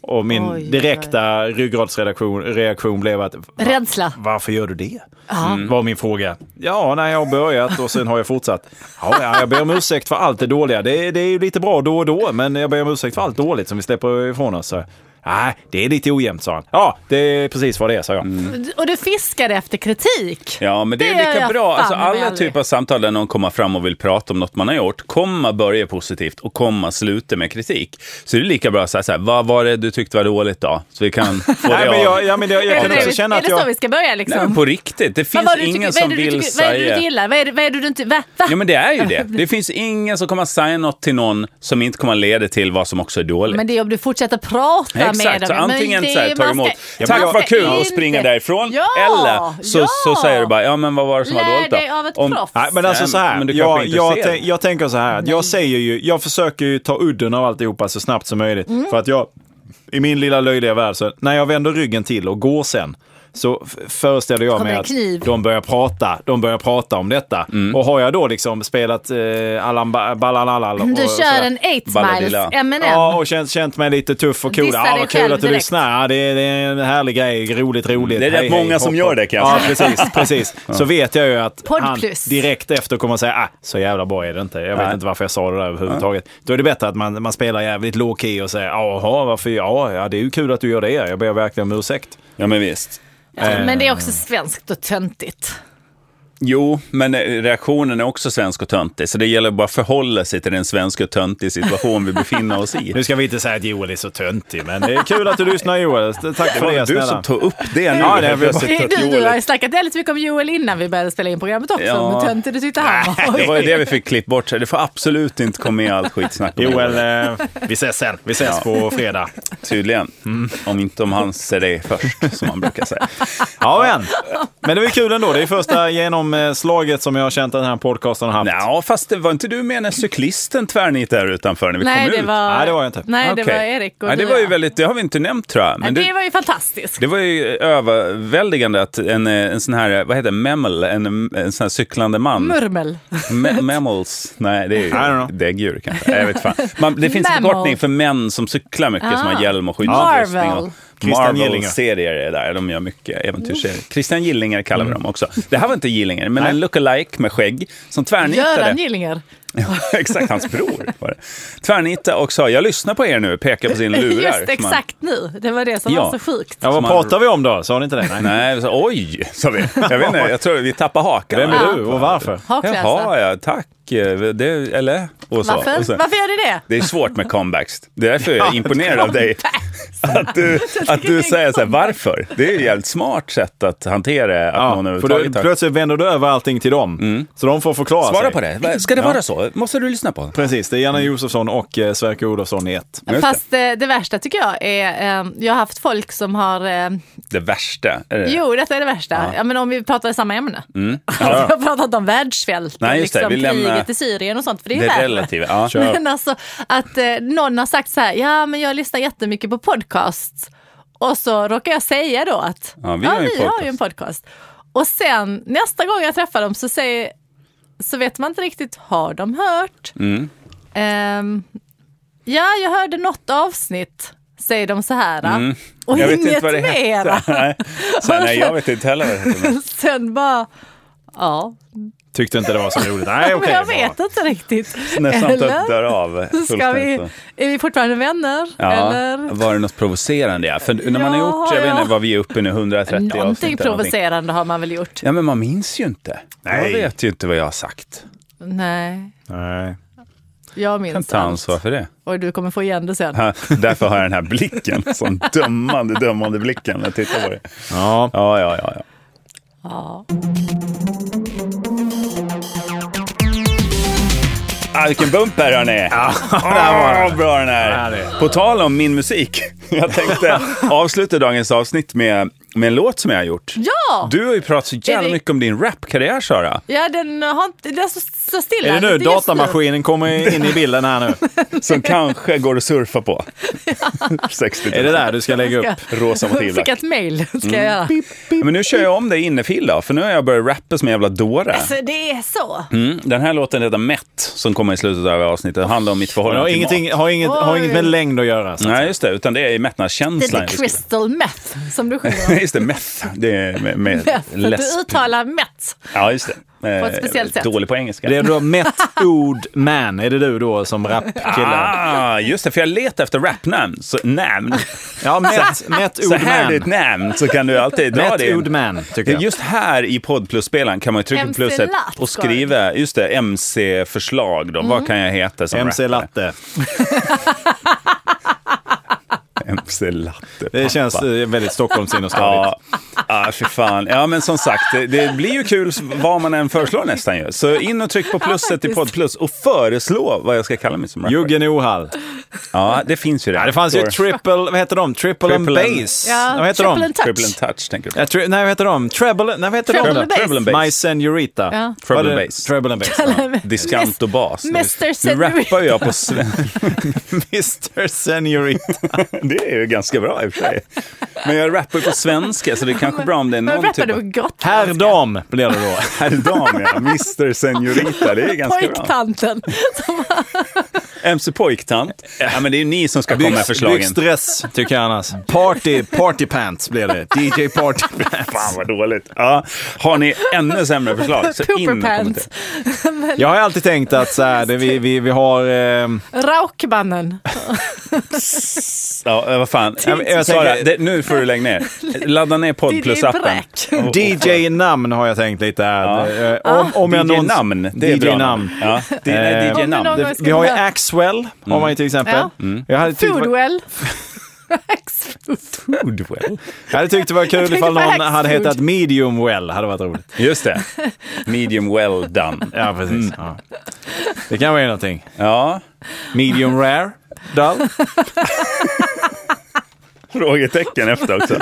Speaker 1: Och min
Speaker 2: Oj,
Speaker 1: direkta ryggradsreaktion reaktion blev att... va-
Speaker 2: Rädsla.
Speaker 1: Varför gör du det?
Speaker 2: Ja.
Speaker 1: Mm. Var min fråga. Ja, nej, jag har börjat och sen har jag fortsatt. Ja, ja, jag ber om ursäkt för allt det dåliga. Det, det är ju lite bra då och då, men jag ber om ursäkt för allt dåligt som vi släpper ifrån oss. Så, Nej, det är lite ojämnt, sa han. Ja, det är precis vad det är, sa
Speaker 3: Mm.
Speaker 1: jag.
Speaker 2: Och du fiskade efter kritik.
Speaker 3: Ja, men det är
Speaker 2: Det gör
Speaker 3: lika
Speaker 2: jag
Speaker 3: bra.
Speaker 2: fan
Speaker 3: Alltså,
Speaker 2: mig
Speaker 3: alla
Speaker 2: aldrig.
Speaker 3: typer av samtal där någon kommer fram och vill prata om något man har gjort, komma börja positivt och komma sluta med kritik. Så det är lika bra att säga så här, vad var det du tyckte var dåligt då? Så
Speaker 2: [laughs]
Speaker 3: vi kan få det
Speaker 1: Nej, men
Speaker 3: av.
Speaker 1: jag, ja, men jag, jag
Speaker 2: Är
Speaker 1: kan
Speaker 2: det,
Speaker 1: också
Speaker 2: är
Speaker 1: känna att
Speaker 2: det så vi
Speaker 1: jag...
Speaker 2: ska börja
Speaker 3: Nej,
Speaker 2: liksom?
Speaker 3: men på riktigt, det finns
Speaker 2: Vad var det du tycker-
Speaker 3: ingen som
Speaker 2: vad är det du
Speaker 3: vill
Speaker 2: tycker- Vad är det
Speaker 3: säga...
Speaker 2: du gillar? Vad är det, vad är det du inte... Va? Va?
Speaker 3: Ja men det
Speaker 2: [laughs]
Speaker 3: är ju det. Det finns ingen som kommer att säga något till någon som inte kommer att leda till vad som också är dåligt.
Speaker 2: Men det är om du fortsätter prata med
Speaker 3: Exakt,
Speaker 2: dem.
Speaker 3: så antingen
Speaker 2: men det,
Speaker 3: så här, tar du
Speaker 2: man
Speaker 3: emot,
Speaker 2: ska-
Speaker 3: tack
Speaker 2: man
Speaker 3: vad
Speaker 2: ska
Speaker 3: kul och
Speaker 2: inte-
Speaker 3: springer därifrån.
Speaker 2: Ja,
Speaker 3: Eller så,
Speaker 2: ja.
Speaker 3: så säger du bara, ja men vad var det som var
Speaker 2: Lär
Speaker 3: dåligt då?
Speaker 2: dig av ett proffs.
Speaker 1: Nej, men alltså
Speaker 3: Nej,
Speaker 1: så här.
Speaker 3: men du kanske
Speaker 1: jag,
Speaker 3: inte
Speaker 1: jag,
Speaker 3: ser
Speaker 1: tän-
Speaker 3: det.
Speaker 1: jag tänker så här. att Jag säger ju, jag försöker ju ta udden av alltihopa så snabbt som möjligt.
Speaker 2: Mm.
Speaker 1: För att jag, i min lilla löjliga värld, så när jag vänder ryggen till och går sen, så f- föreställer jag
Speaker 2: Kommer
Speaker 1: mig
Speaker 2: en
Speaker 1: att
Speaker 2: kniv.
Speaker 1: de börjar prata, de börjar prata om detta.
Speaker 3: Mm.
Speaker 1: Och har jag då liksom spelat eh, Allan ba- Balalal och
Speaker 2: Du
Speaker 1: sådär.
Speaker 2: kör en 8 miles
Speaker 3: Balladilla.
Speaker 2: M&M.
Speaker 1: Ja, och känt, känt mig lite tuff och cool.
Speaker 2: Dissa
Speaker 1: Ja,
Speaker 2: dig
Speaker 1: vad kul
Speaker 2: själv
Speaker 1: att du
Speaker 2: direkt.
Speaker 1: lyssnar. Ja, det, är, det är en härlig grej. Roligt, roligt.
Speaker 3: Det är rätt många som
Speaker 1: hopp,
Speaker 3: gör
Speaker 1: hopp.
Speaker 3: det, kan jag
Speaker 1: Ja,
Speaker 3: [laughs]
Speaker 1: precis. precis. Så vet jag ju att
Speaker 2: Podd
Speaker 1: han
Speaker 2: plus.
Speaker 1: direkt efter kommer säga ah, så jävla bra är det inte. Jag
Speaker 3: Nej.
Speaker 1: vet inte varför jag sa det där överhuvudtaget. Då är det bättre att man, man spelar jävligt low key och säger jaha, varför? Ja, ja, det är ju kul att du gör det. Jag ber verkligen om ursäkt.
Speaker 3: Ja men visst. eh.
Speaker 2: Ja, Men det är också svenskt och töntigt.
Speaker 3: Jo, men eh, reaktionen är också svensk och töntig, så det gäller bara att förhålla sig till den svenska och töntig situation vi befinner oss i.
Speaker 1: [laughs] Nu ska vi inte säga att Joel är så töntig, men det är kul att du lyssnar Joel. Tack för
Speaker 3: Fan,
Speaker 1: det
Speaker 3: du som
Speaker 1: snälla.
Speaker 3: tog upp det nu.
Speaker 1: Ja, det är
Speaker 3: helt
Speaker 1: väl
Speaker 3: plötsligt.
Speaker 2: Du,
Speaker 1: Töntigt
Speaker 2: du har ju
Speaker 3: Dåligt.
Speaker 2: snackat väldigt mycket om Joel innan vi började spela in programmet också.
Speaker 3: Ja.
Speaker 2: Hur töntig du tyckte han var.
Speaker 3: Det var ju det vi fick klippa bort, så det får absolut inte komma med allt skitsnack. om Joel,
Speaker 1: Joel, eh, vi ses sen. Vi ses på fredag.
Speaker 3: Tydligen.
Speaker 1: Mm.
Speaker 3: Om inte om han ser dig först, som man brukar säga.
Speaker 1: Ja, men. men det var ju kul ändå. Det är första genomslaget som jag har känt att den här podcasten har haft.
Speaker 3: Ja, fast det var inte du med när cyklisten tvärnit där utanför när
Speaker 2: [laughs]
Speaker 3: vi
Speaker 2: Nej,
Speaker 3: kom
Speaker 2: det
Speaker 3: ut?
Speaker 2: var,
Speaker 1: Nej, det var jag inte.
Speaker 2: Nej, det
Speaker 3: Okej.
Speaker 2: var Erik och
Speaker 3: ja, det
Speaker 2: du
Speaker 3: var
Speaker 2: och
Speaker 3: ju
Speaker 2: jag.
Speaker 3: väldigt, det har vi inte nämnt tror jag.
Speaker 2: Ja,
Speaker 3: Men
Speaker 2: det,
Speaker 3: det,
Speaker 2: var ju fantastiskt.
Speaker 3: det var ju överväldigande att en, eh, en sån här, vad heter det, memel, en, en sån här cyklande man.
Speaker 2: Murmel.
Speaker 3: Me- mammals? Nej, det
Speaker 1: don't
Speaker 3: är ju
Speaker 1: know.
Speaker 3: däggdjur kanske. Nej, Jag vet fan. Man, det finns en
Speaker 2: Mammal.
Speaker 3: förkortning för män som cyklar mycket, som har
Speaker 2: Ah.
Speaker 3: hjälm och skyddsutrustning.
Speaker 2: Marvel.
Speaker 3: och
Speaker 1: Christian Gillinger. Mm.
Speaker 3: Marvel-serier är där, de gör mycket äventyrsserier. Christian Gillinger kallar vi dem också. Det här var inte Gillinger, men en lookalike med skägg som tvärnitade.
Speaker 2: Göran Gillinger.
Speaker 3: Ja, [laughs] exakt, hans bror var det. Tvärnitade och sa, jag lyssnar på er nu, pekar på sin lurar.
Speaker 2: [laughs] Just
Speaker 3: som han-
Speaker 2: exakt nu. Det var det som
Speaker 3: Ja.
Speaker 2: var så sjukt.
Speaker 1: Ja,
Speaker 3: Som
Speaker 1: vad pratar vi om då? Sa ni inte det? Nej.
Speaker 3: Nej, vi sa, oj, sa vi. Jag vet inte, jag tror vi tappar hakan.
Speaker 1: Vem är du och varför?
Speaker 2: Haklösa.
Speaker 3: Jaha, ja, tack. Det, eller? Och så.
Speaker 2: Varför?
Speaker 3: Och så.
Speaker 2: Varför gör du det?
Speaker 3: Det är svårt med comebacks. Det är därför jag är imponerad
Speaker 2: [laughs]
Speaker 3: av dig. Att du, att
Speaker 2: det är
Speaker 3: du säger så här,
Speaker 2: comeback.
Speaker 3: varför? Det är ju ett jävligt smart sätt att hantera att någon
Speaker 1: Ja, för då,
Speaker 3: överhuvudtaget har...
Speaker 1: plötsligt vänder du över allting till dem. Så de får förklara
Speaker 3: Svara
Speaker 1: sig.
Speaker 3: på det. Ska det vara så? Måste du lyssna på?
Speaker 1: Precis, det är Janne Josefsson och eh, Sverker Olofsson i ett.
Speaker 3: Just det.
Speaker 2: Fast eh, det värsta tycker jag är, eh, jag har haft folk som har, eh,
Speaker 3: Det värsta. Är det?
Speaker 2: jo detta är det värsta, ja, men om vi pratar i samma ämne. [laughs] jag har pratat om världssvält,
Speaker 3: Mm. Nej, just det.
Speaker 2: liksom,
Speaker 3: Vi lämnar-
Speaker 2: kriget i Syrien och sånt, för det är
Speaker 3: Det
Speaker 2: ju värre.
Speaker 3: relativa. Ja.
Speaker 2: Men alltså att eh, någon har sagt så här, ja men jag lyssnar jättemycket på podcasts. Och så råkar jag säga då att,
Speaker 3: Ja, vi har ju en
Speaker 2: vi har
Speaker 3: podcast."
Speaker 2: ju en podcast. Och sen nästa gång jag träffar dem så säger, så vet man inte riktigt, har de hört?
Speaker 3: Mm.
Speaker 2: Ehm, ja, jag hörde något avsnitt, säger de så här. Och
Speaker 3: Mm. Jag vet
Speaker 2: inget
Speaker 3: inte vad det
Speaker 2: mera.
Speaker 3: hette. [laughs] Nej. Så, nej, jag vet inte heller vad det hette.
Speaker 2: [laughs] Sen bara, ja,
Speaker 1: Tyckte inte det var så roligt. Nej,
Speaker 2: [laughs] men
Speaker 1: okej.
Speaker 2: jag
Speaker 1: bra.
Speaker 2: vet inte riktigt.
Speaker 3: När
Speaker 2: Eller?
Speaker 3: samtalet dör av.
Speaker 2: Ska vi,
Speaker 3: fullständigt så.
Speaker 2: är vi fortfarande vänner?
Speaker 3: Ja,
Speaker 2: Eller?
Speaker 3: var det något provocerande? Ja. För när man har
Speaker 2: Ja,
Speaker 3: gjort, jag vet
Speaker 2: ja.
Speaker 3: inte vad vi är uppe i nu, 130 avsnitt eller
Speaker 2: Någonting provocerande har man väl gjort?
Speaker 3: Ja, men man minns ju inte.
Speaker 1: Nej.
Speaker 3: Jag vet ju inte vad jag har sagt.
Speaker 2: Nej,
Speaker 1: Nej.
Speaker 2: jag
Speaker 3: Jag kan
Speaker 2: minns
Speaker 3: ta ansvar
Speaker 2: allt.
Speaker 3: för det.
Speaker 2: Och du kommer få igen det sen.
Speaker 3: Ja, Därför har jag den
Speaker 2: [laughs]
Speaker 3: här blicken, sån dömande, dömande blicken när jag tittar på det.
Speaker 1: Ja.
Speaker 3: Ja, ja, ja. ja.
Speaker 2: Ja.
Speaker 3: Ah, vilken bumper hörni! Ah, bra den
Speaker 1: Ja,
Speaker 3: här!
Speaker 1: det.
Speaker 3: [laughs]
Speaker 1: [laughs]
Speaker 3: På tal om min musik, jag tänkte avsluta dagens avsnitt med med en låt som jag har gjort.
Speaker 2: Ja!
Speaker 3: Du har ju pratat så jävla
Speaker 2: Är det-
Speaker 3: mycket om din rapkarriär, Sara.
Speaker 2: Ja, den har inte... Den står stilla.
Speaker 1: Är det nu
Speaker 2: lite just
Speaker 1: datamaskinen kommer in i bilden här
Speaker 2: [laughs]
Speaker 1: nu?
Speaker 3: Som kanske går att surfa på. 60
Speaker 1: Är det där du ska lägga upp?
Speaker 2: [laughs]
Speaker 3: Rosa
Speaker 2: Jag fick
Speaker 3: motivlack.
Speaker 2: ett mail, ska
Speaker 3: Mm.
Speaker 2: jag göra.
Speaker 3: Men nu kör jag om dig innefil då, för nu har jag börjat rappa som en jävla dåre.
Speaker 2: Alltså, det är så.
Speaker 3: Mm, den här låten heter Mätt, som kommer i slutet av avsnittet, handlar om mitt
Speaker 1: Det har
Speaker 3: förhållande till mat.
Speaker 1: ingenting, har, inget, har inget med
Speaker 2: Oj.
Speaker 1: längd att göra. Så.
Speaker 3: Nej, just det, utan det är
Speaker 2: Det är
Speaker 3: mättnadskänslan.
Speaker 2: lite crystal meth som du sjunger
Speaker 3: [laughs]
Speaker 2: om.
Speaker 3: Nej, [laughs] just det, meth. Det är med, med
Speaker 2: Meth.
Speaker 3: läsp.
Speaker 2: Du uttalar meth.
Speaker 3: Ja, just det.
Speaker 2: På ett
Speaker 3: Eh,
Speaker 2: speciellt sätt.
Speaker 3: Dålig på engelska.
Speaker 1: Det är då Met Ood Man, är det du då som rapkille?
Speaker 3: Ah, just det, för jag letar efter rapnamn. Så, namn.
Speaker 1: Ja, Met, Met
Speaker 3: Så
Speaker 1: Ood
Speaker 3: här är ditt
Speaker 1: Man.
Speaker 3: namn, så kan du alltid dra
Speaker 1: Met Ood
Speaker 3: det.
Speaker 1: Man, tycker jag.
Speaker 3: Just här i podd plus-spelaren kan man ju trycka på
Speaker 2: MC
Speaker 3: plusset
Speaker 2: Latt
Speaker 3: och
Speaker 2: ska det.
Speaker 3: skriva just det, MC-förslag. Då. Vad kan jag heta som
Speaker 1: MC
Speaker 3: rappare?
Speaker 1: Latte.
Speaker 3: MC Latte.
Speaker 1: Det känns eh, väldigt
Speaker 3: [laughs]
Speaker 1: Stockholmsinnerstadigt.
Speaker 3: Ja, ja, för fan. Ja, men som sagt, det, det blir ju kul vad man än föreslår nästan ju. Så in och tryck på plusset i
Speaker 2: faktiskt.
Speaker 3: podd plus och föreslå vad jag ska kalla mig som rappare.
Speaker 1: Juggen Ohall.
Speaker 3: Ja, det finns ju det.
Speaker 1: Ja, det fanns ju
Speaker 3: Står-
Speaker 1: triple, vad heter de? Triple, and
Speaker 3: Triple and-
Speaker 1: bass.
Speaker 2: Ja,
Speaker 1: vad heter
Speaker 2: triple
Speaker 1: de?
Speaker 2: and touch.
Speaker 3: Triple and touch, tänker du.
Speaker 1: Ja, tri- nej, vad heter de? Treble, nej, vad heter
Speaker 2: Treble
Speaker 1: de?
Speaker 2: and bass.
Speaker 3: Treble and
Speaker 1: My
Speaker 3: bass.
Speaker 1: Senorita.
Speaker 2: Ja.
Speaker 3: Treble
Speaker 1: Var
Speaker 3: and
Speaker 1: det-
Speaker 3: bass.
Speaker 1: Treble and bass. ja.
Speaker 3: Diskant och bas.
Speaker 2: Mr.
Speaker 3: Nu rappar
Speaker 2: Senorita.
Speaker 3: ju jag på svenska.
Speaker 1: Mr Senorita.
Speaker 3: [laughs] Det är ju ganska bra i och för sig. Men jag rappar ju på svenska, så det är kanske bra om det är
Speaker 2: Men
Speaker 3: någon
Speaker 2: rappar
Speaker 3: typ
Speaker 2: du på
Speaker 3: [laughs] av...
Speaker 2: gott?
Speaker 1: Herr dam blir det då.
Speaker 3: Herr dam, ja. Mr Senorita. Det är ganska bra.
Speaker 2: Pojktanten.
Speaker 3: MC Pojktant. Ja, men det är ju ni som ska komma med förslagen.
Speaker 1: byxdress tycker jag annars. Party, party pants blir det. DJ party
Speaker 2: [laughs]
Speaker 1: pants.
Speaker 3: [laughs] Fan vad dåligt. Ja. Har ni ännu sämre förslag så in och
Speaker 2: Pooperpants.
Speaker 3: kommentera.
Speaker 1: Jag har alltid tänkt att så här, det, vi, vi, vi har...
Speaker 3: [laughs]
Speaker 1: Eh,
Speaker 2: Raukmannen.
Speaker 3: Typ Ja, eh, vad fan. Ja, men, eh, Sara, det, nu får du lägga ner. Ladda
Speaker 2: [laughs]
Speaker 3: ner podd plus appen.
Speaker 2: Bräck.
Speaker 1: DJ-namn har jag tänkt lite här. Eh, Om, om jag någons-
Speaker 3: DJ-namn. Det är bra
Speaker 1: DJ-namn.
Speaker 3: Ja, det är
Speaker 1: Eh,
Speaker 2: Om
Speaker 3: DJ-namn.
Speaker 2: det är någon-
Speaker 1: Det,
Speaker 2: Jag ska
Speaker 1: vi har ju
Speaker 2: börja.
Speaker 1: Axwell, har man ju till exempel. Mm.
Speaker 2: Ja.
Speaker 1: Jag, hade tyckt, det var-
Speaker 2: Foodwell.
Speaker 3: [laughs] Foodwell.
Speaker 1: jag hade tyckt det var kul
Speaker 2: tänkte
Speaker 1: ifall
Speaker 2: på
Speaker 1: någon
Speaker 2: Axfood.
Speaker 1: hade hetat Medium Well, hade varit roligt.
Speaker 3: Just det. Medium well done.
Speaker 1: Ja, precis. Ja. Mm. Det kan vara någonting.
Speaker 3: Ja.
Speaker 1: Medium Rare, dull.
Speaker 3: Frågetecken efter också.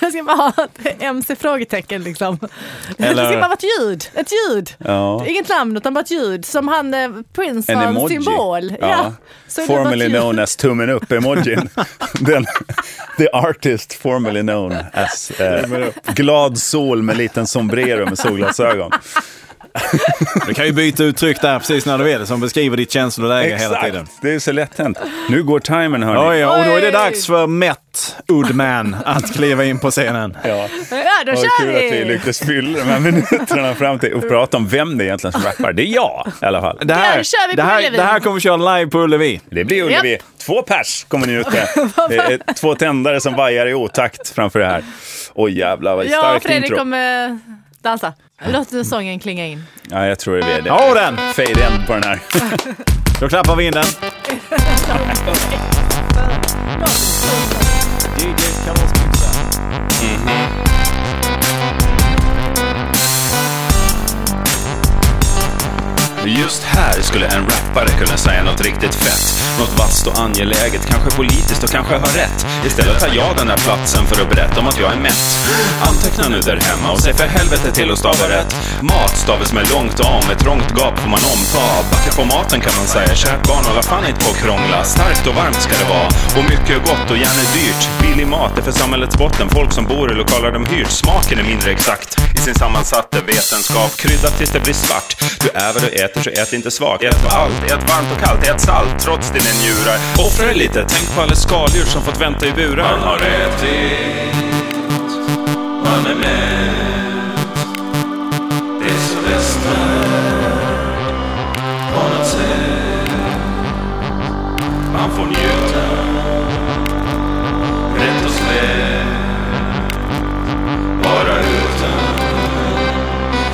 Speaker 2: Jag ska bara ha ett MC-frågetecken liksom.
Speaker 1: Eller-
Speaker 2: Det ska bara vara ett ljud. Ett ljud.
Speaker 3: Ja.
Speaker 2: Inget namn utan bara ett ljud. Som han eh, Prince
Speaker 3: En
Speaker 2: har
Speaker 3: emoji.
Speaker 2: en symbol. Ja.
Speaker 3: Ja.
Speaker 2: Så är det bara ett
Speaker 3: Formerly
Speaker 2: ljud.
Speaker 3: known as
Speaker 2: [laughs]
Speaker 3: tummen upp-emojin. Den, the artist formerly known as eh, glad sol med liten sombrero med solglasögon.
Speaker 1: Du kan ju byta uttryck där precis när du vill, som beskriver ditt känsloläge hela tiden.
Speaker 3: det är så lätt hänt. Nu går timern
Speaker 1: Oj,
Speaker 3: hörni.
Speaker 1: och då är det
Speaker 2: Oj.
Speaker 1: dags för Met Udman att kliva in på scenen.
Speaker 3: Ja.
Speaker 2: Ja, då
Speaker 3: Vad
Speaker 2: kör
Speaker 3: kul att vi
Speaker 2: vi!
Speaker 3: lyckades fylla de här minuterna fram till och prata om vem det är egentligen som rappar. Det är jag i alla fall.
Speaker 1: Det här,
Speaker 2: Där kör vi på
Speaker 1: det här,
Speaker 2: Ullevi.
Speaker 1: det här kommer vi köra live på Ullevi.
Speaker 3: Det blir Ullevi. Två pers kommer ni ut med. Det är två tändare som vajar i otakt framför det här. Oj jävlar vad
Speaker 2: Jag och
Speaker 3: starkt
Speaker 2: Fredrik
Speaker 3: intro.
Speaker 2: kommer dansa. Låt nu sången klinga in.
Speaker 3: Ja, jag tror det blir det.
Speaker 1: Ja, och den!
Speaker 3: Fade end på den här.
Speaker 1: Då klappar vi
Speaker 2: [laughs]
Speaker 1: in den.
Speaker 3: [laughs] Just här skulle en rappare kunna säga något riktigt fett. Något vasst och angeläget, kanske politiskt och kanske har rätt. Istället tar jag den där platsen för att berätta om att jag är mätt. Anteckna nu där hemma och säg för helvete till att stava rätt. Mat stavas med långt A, med trångt gap får man omta. Backa på maten kan man säga, kärt barn hålla fan inte på och krångla. Starkt och varmt ska det vara och mycket gott och gärna dyrt. Billig mat är för samhällets botten, folk som bor i lokaler de hyrt. Smaken är mindre exakt i sin sammansatta vetenskap. Krydda tills det blir svart. Du är vad du äter så ät inte svagt. Ät allt, ät varmt och kallt, ät salt trots dina njurar. Offra dig lite, tänk på alla skaldjur som fått vänta i burar. Man har ätit, man är mätt. Det är så västvärd på något sätt. Man får njuta rätt och slätt. Bara utan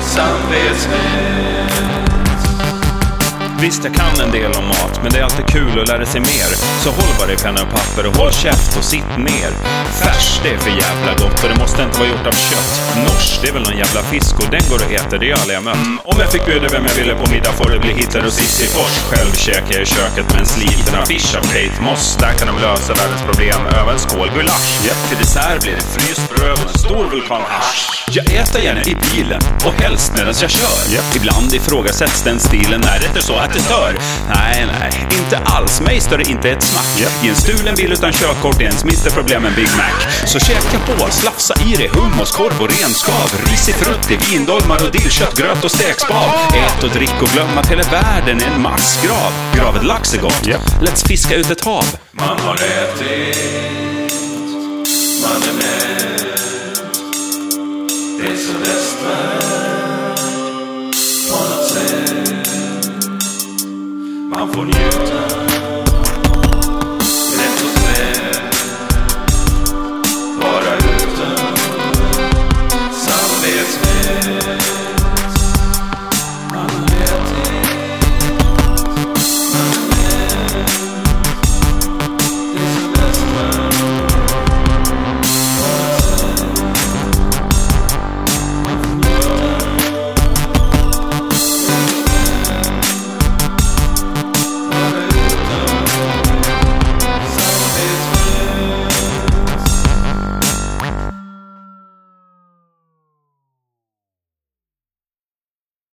Speaker 3: samvetsnät. Visst, jag kan en del om mat, men det är alltid kul att lära sig mer. Så håll bara i penna och papper och håll käft och sitt ner. Färs, det är för jävla gott och det måste inte vara gjort av kött. Nors, det är väl någon jävla fisk och den går att äta, det är alla jag mött. Om jag fick bjuda vem jag ville på middag får det bli Hitler och Sissifors. Själv käkar jag i köket med en sliten affisch av Kate Moss. Där kan de lösa världens problem över en skål gulasch. Ja, till dessert blir det fryst bröd och en stor vulkanhasch. Jag äter gärna i bilen och helst medan jag kör. Ibland ifrågasätts den stilen när det är så att det stör. Nej, nej, inte alls. Mig stör det inte ett smack. I en stulen bil utan körkort är ens minsta problem en Big Mac. Så käka på, slafsa i dig hummuskorv och renskav. Risig frutti, vindolmar och dillkött, gröt och stekspad. Ät och drick och glöm att hela världen är en massgrav. Gravet lax är gott. Let's fiska ut ett hav. Man har ätit, man är mätt. Det är så på något sätt. Man får njuta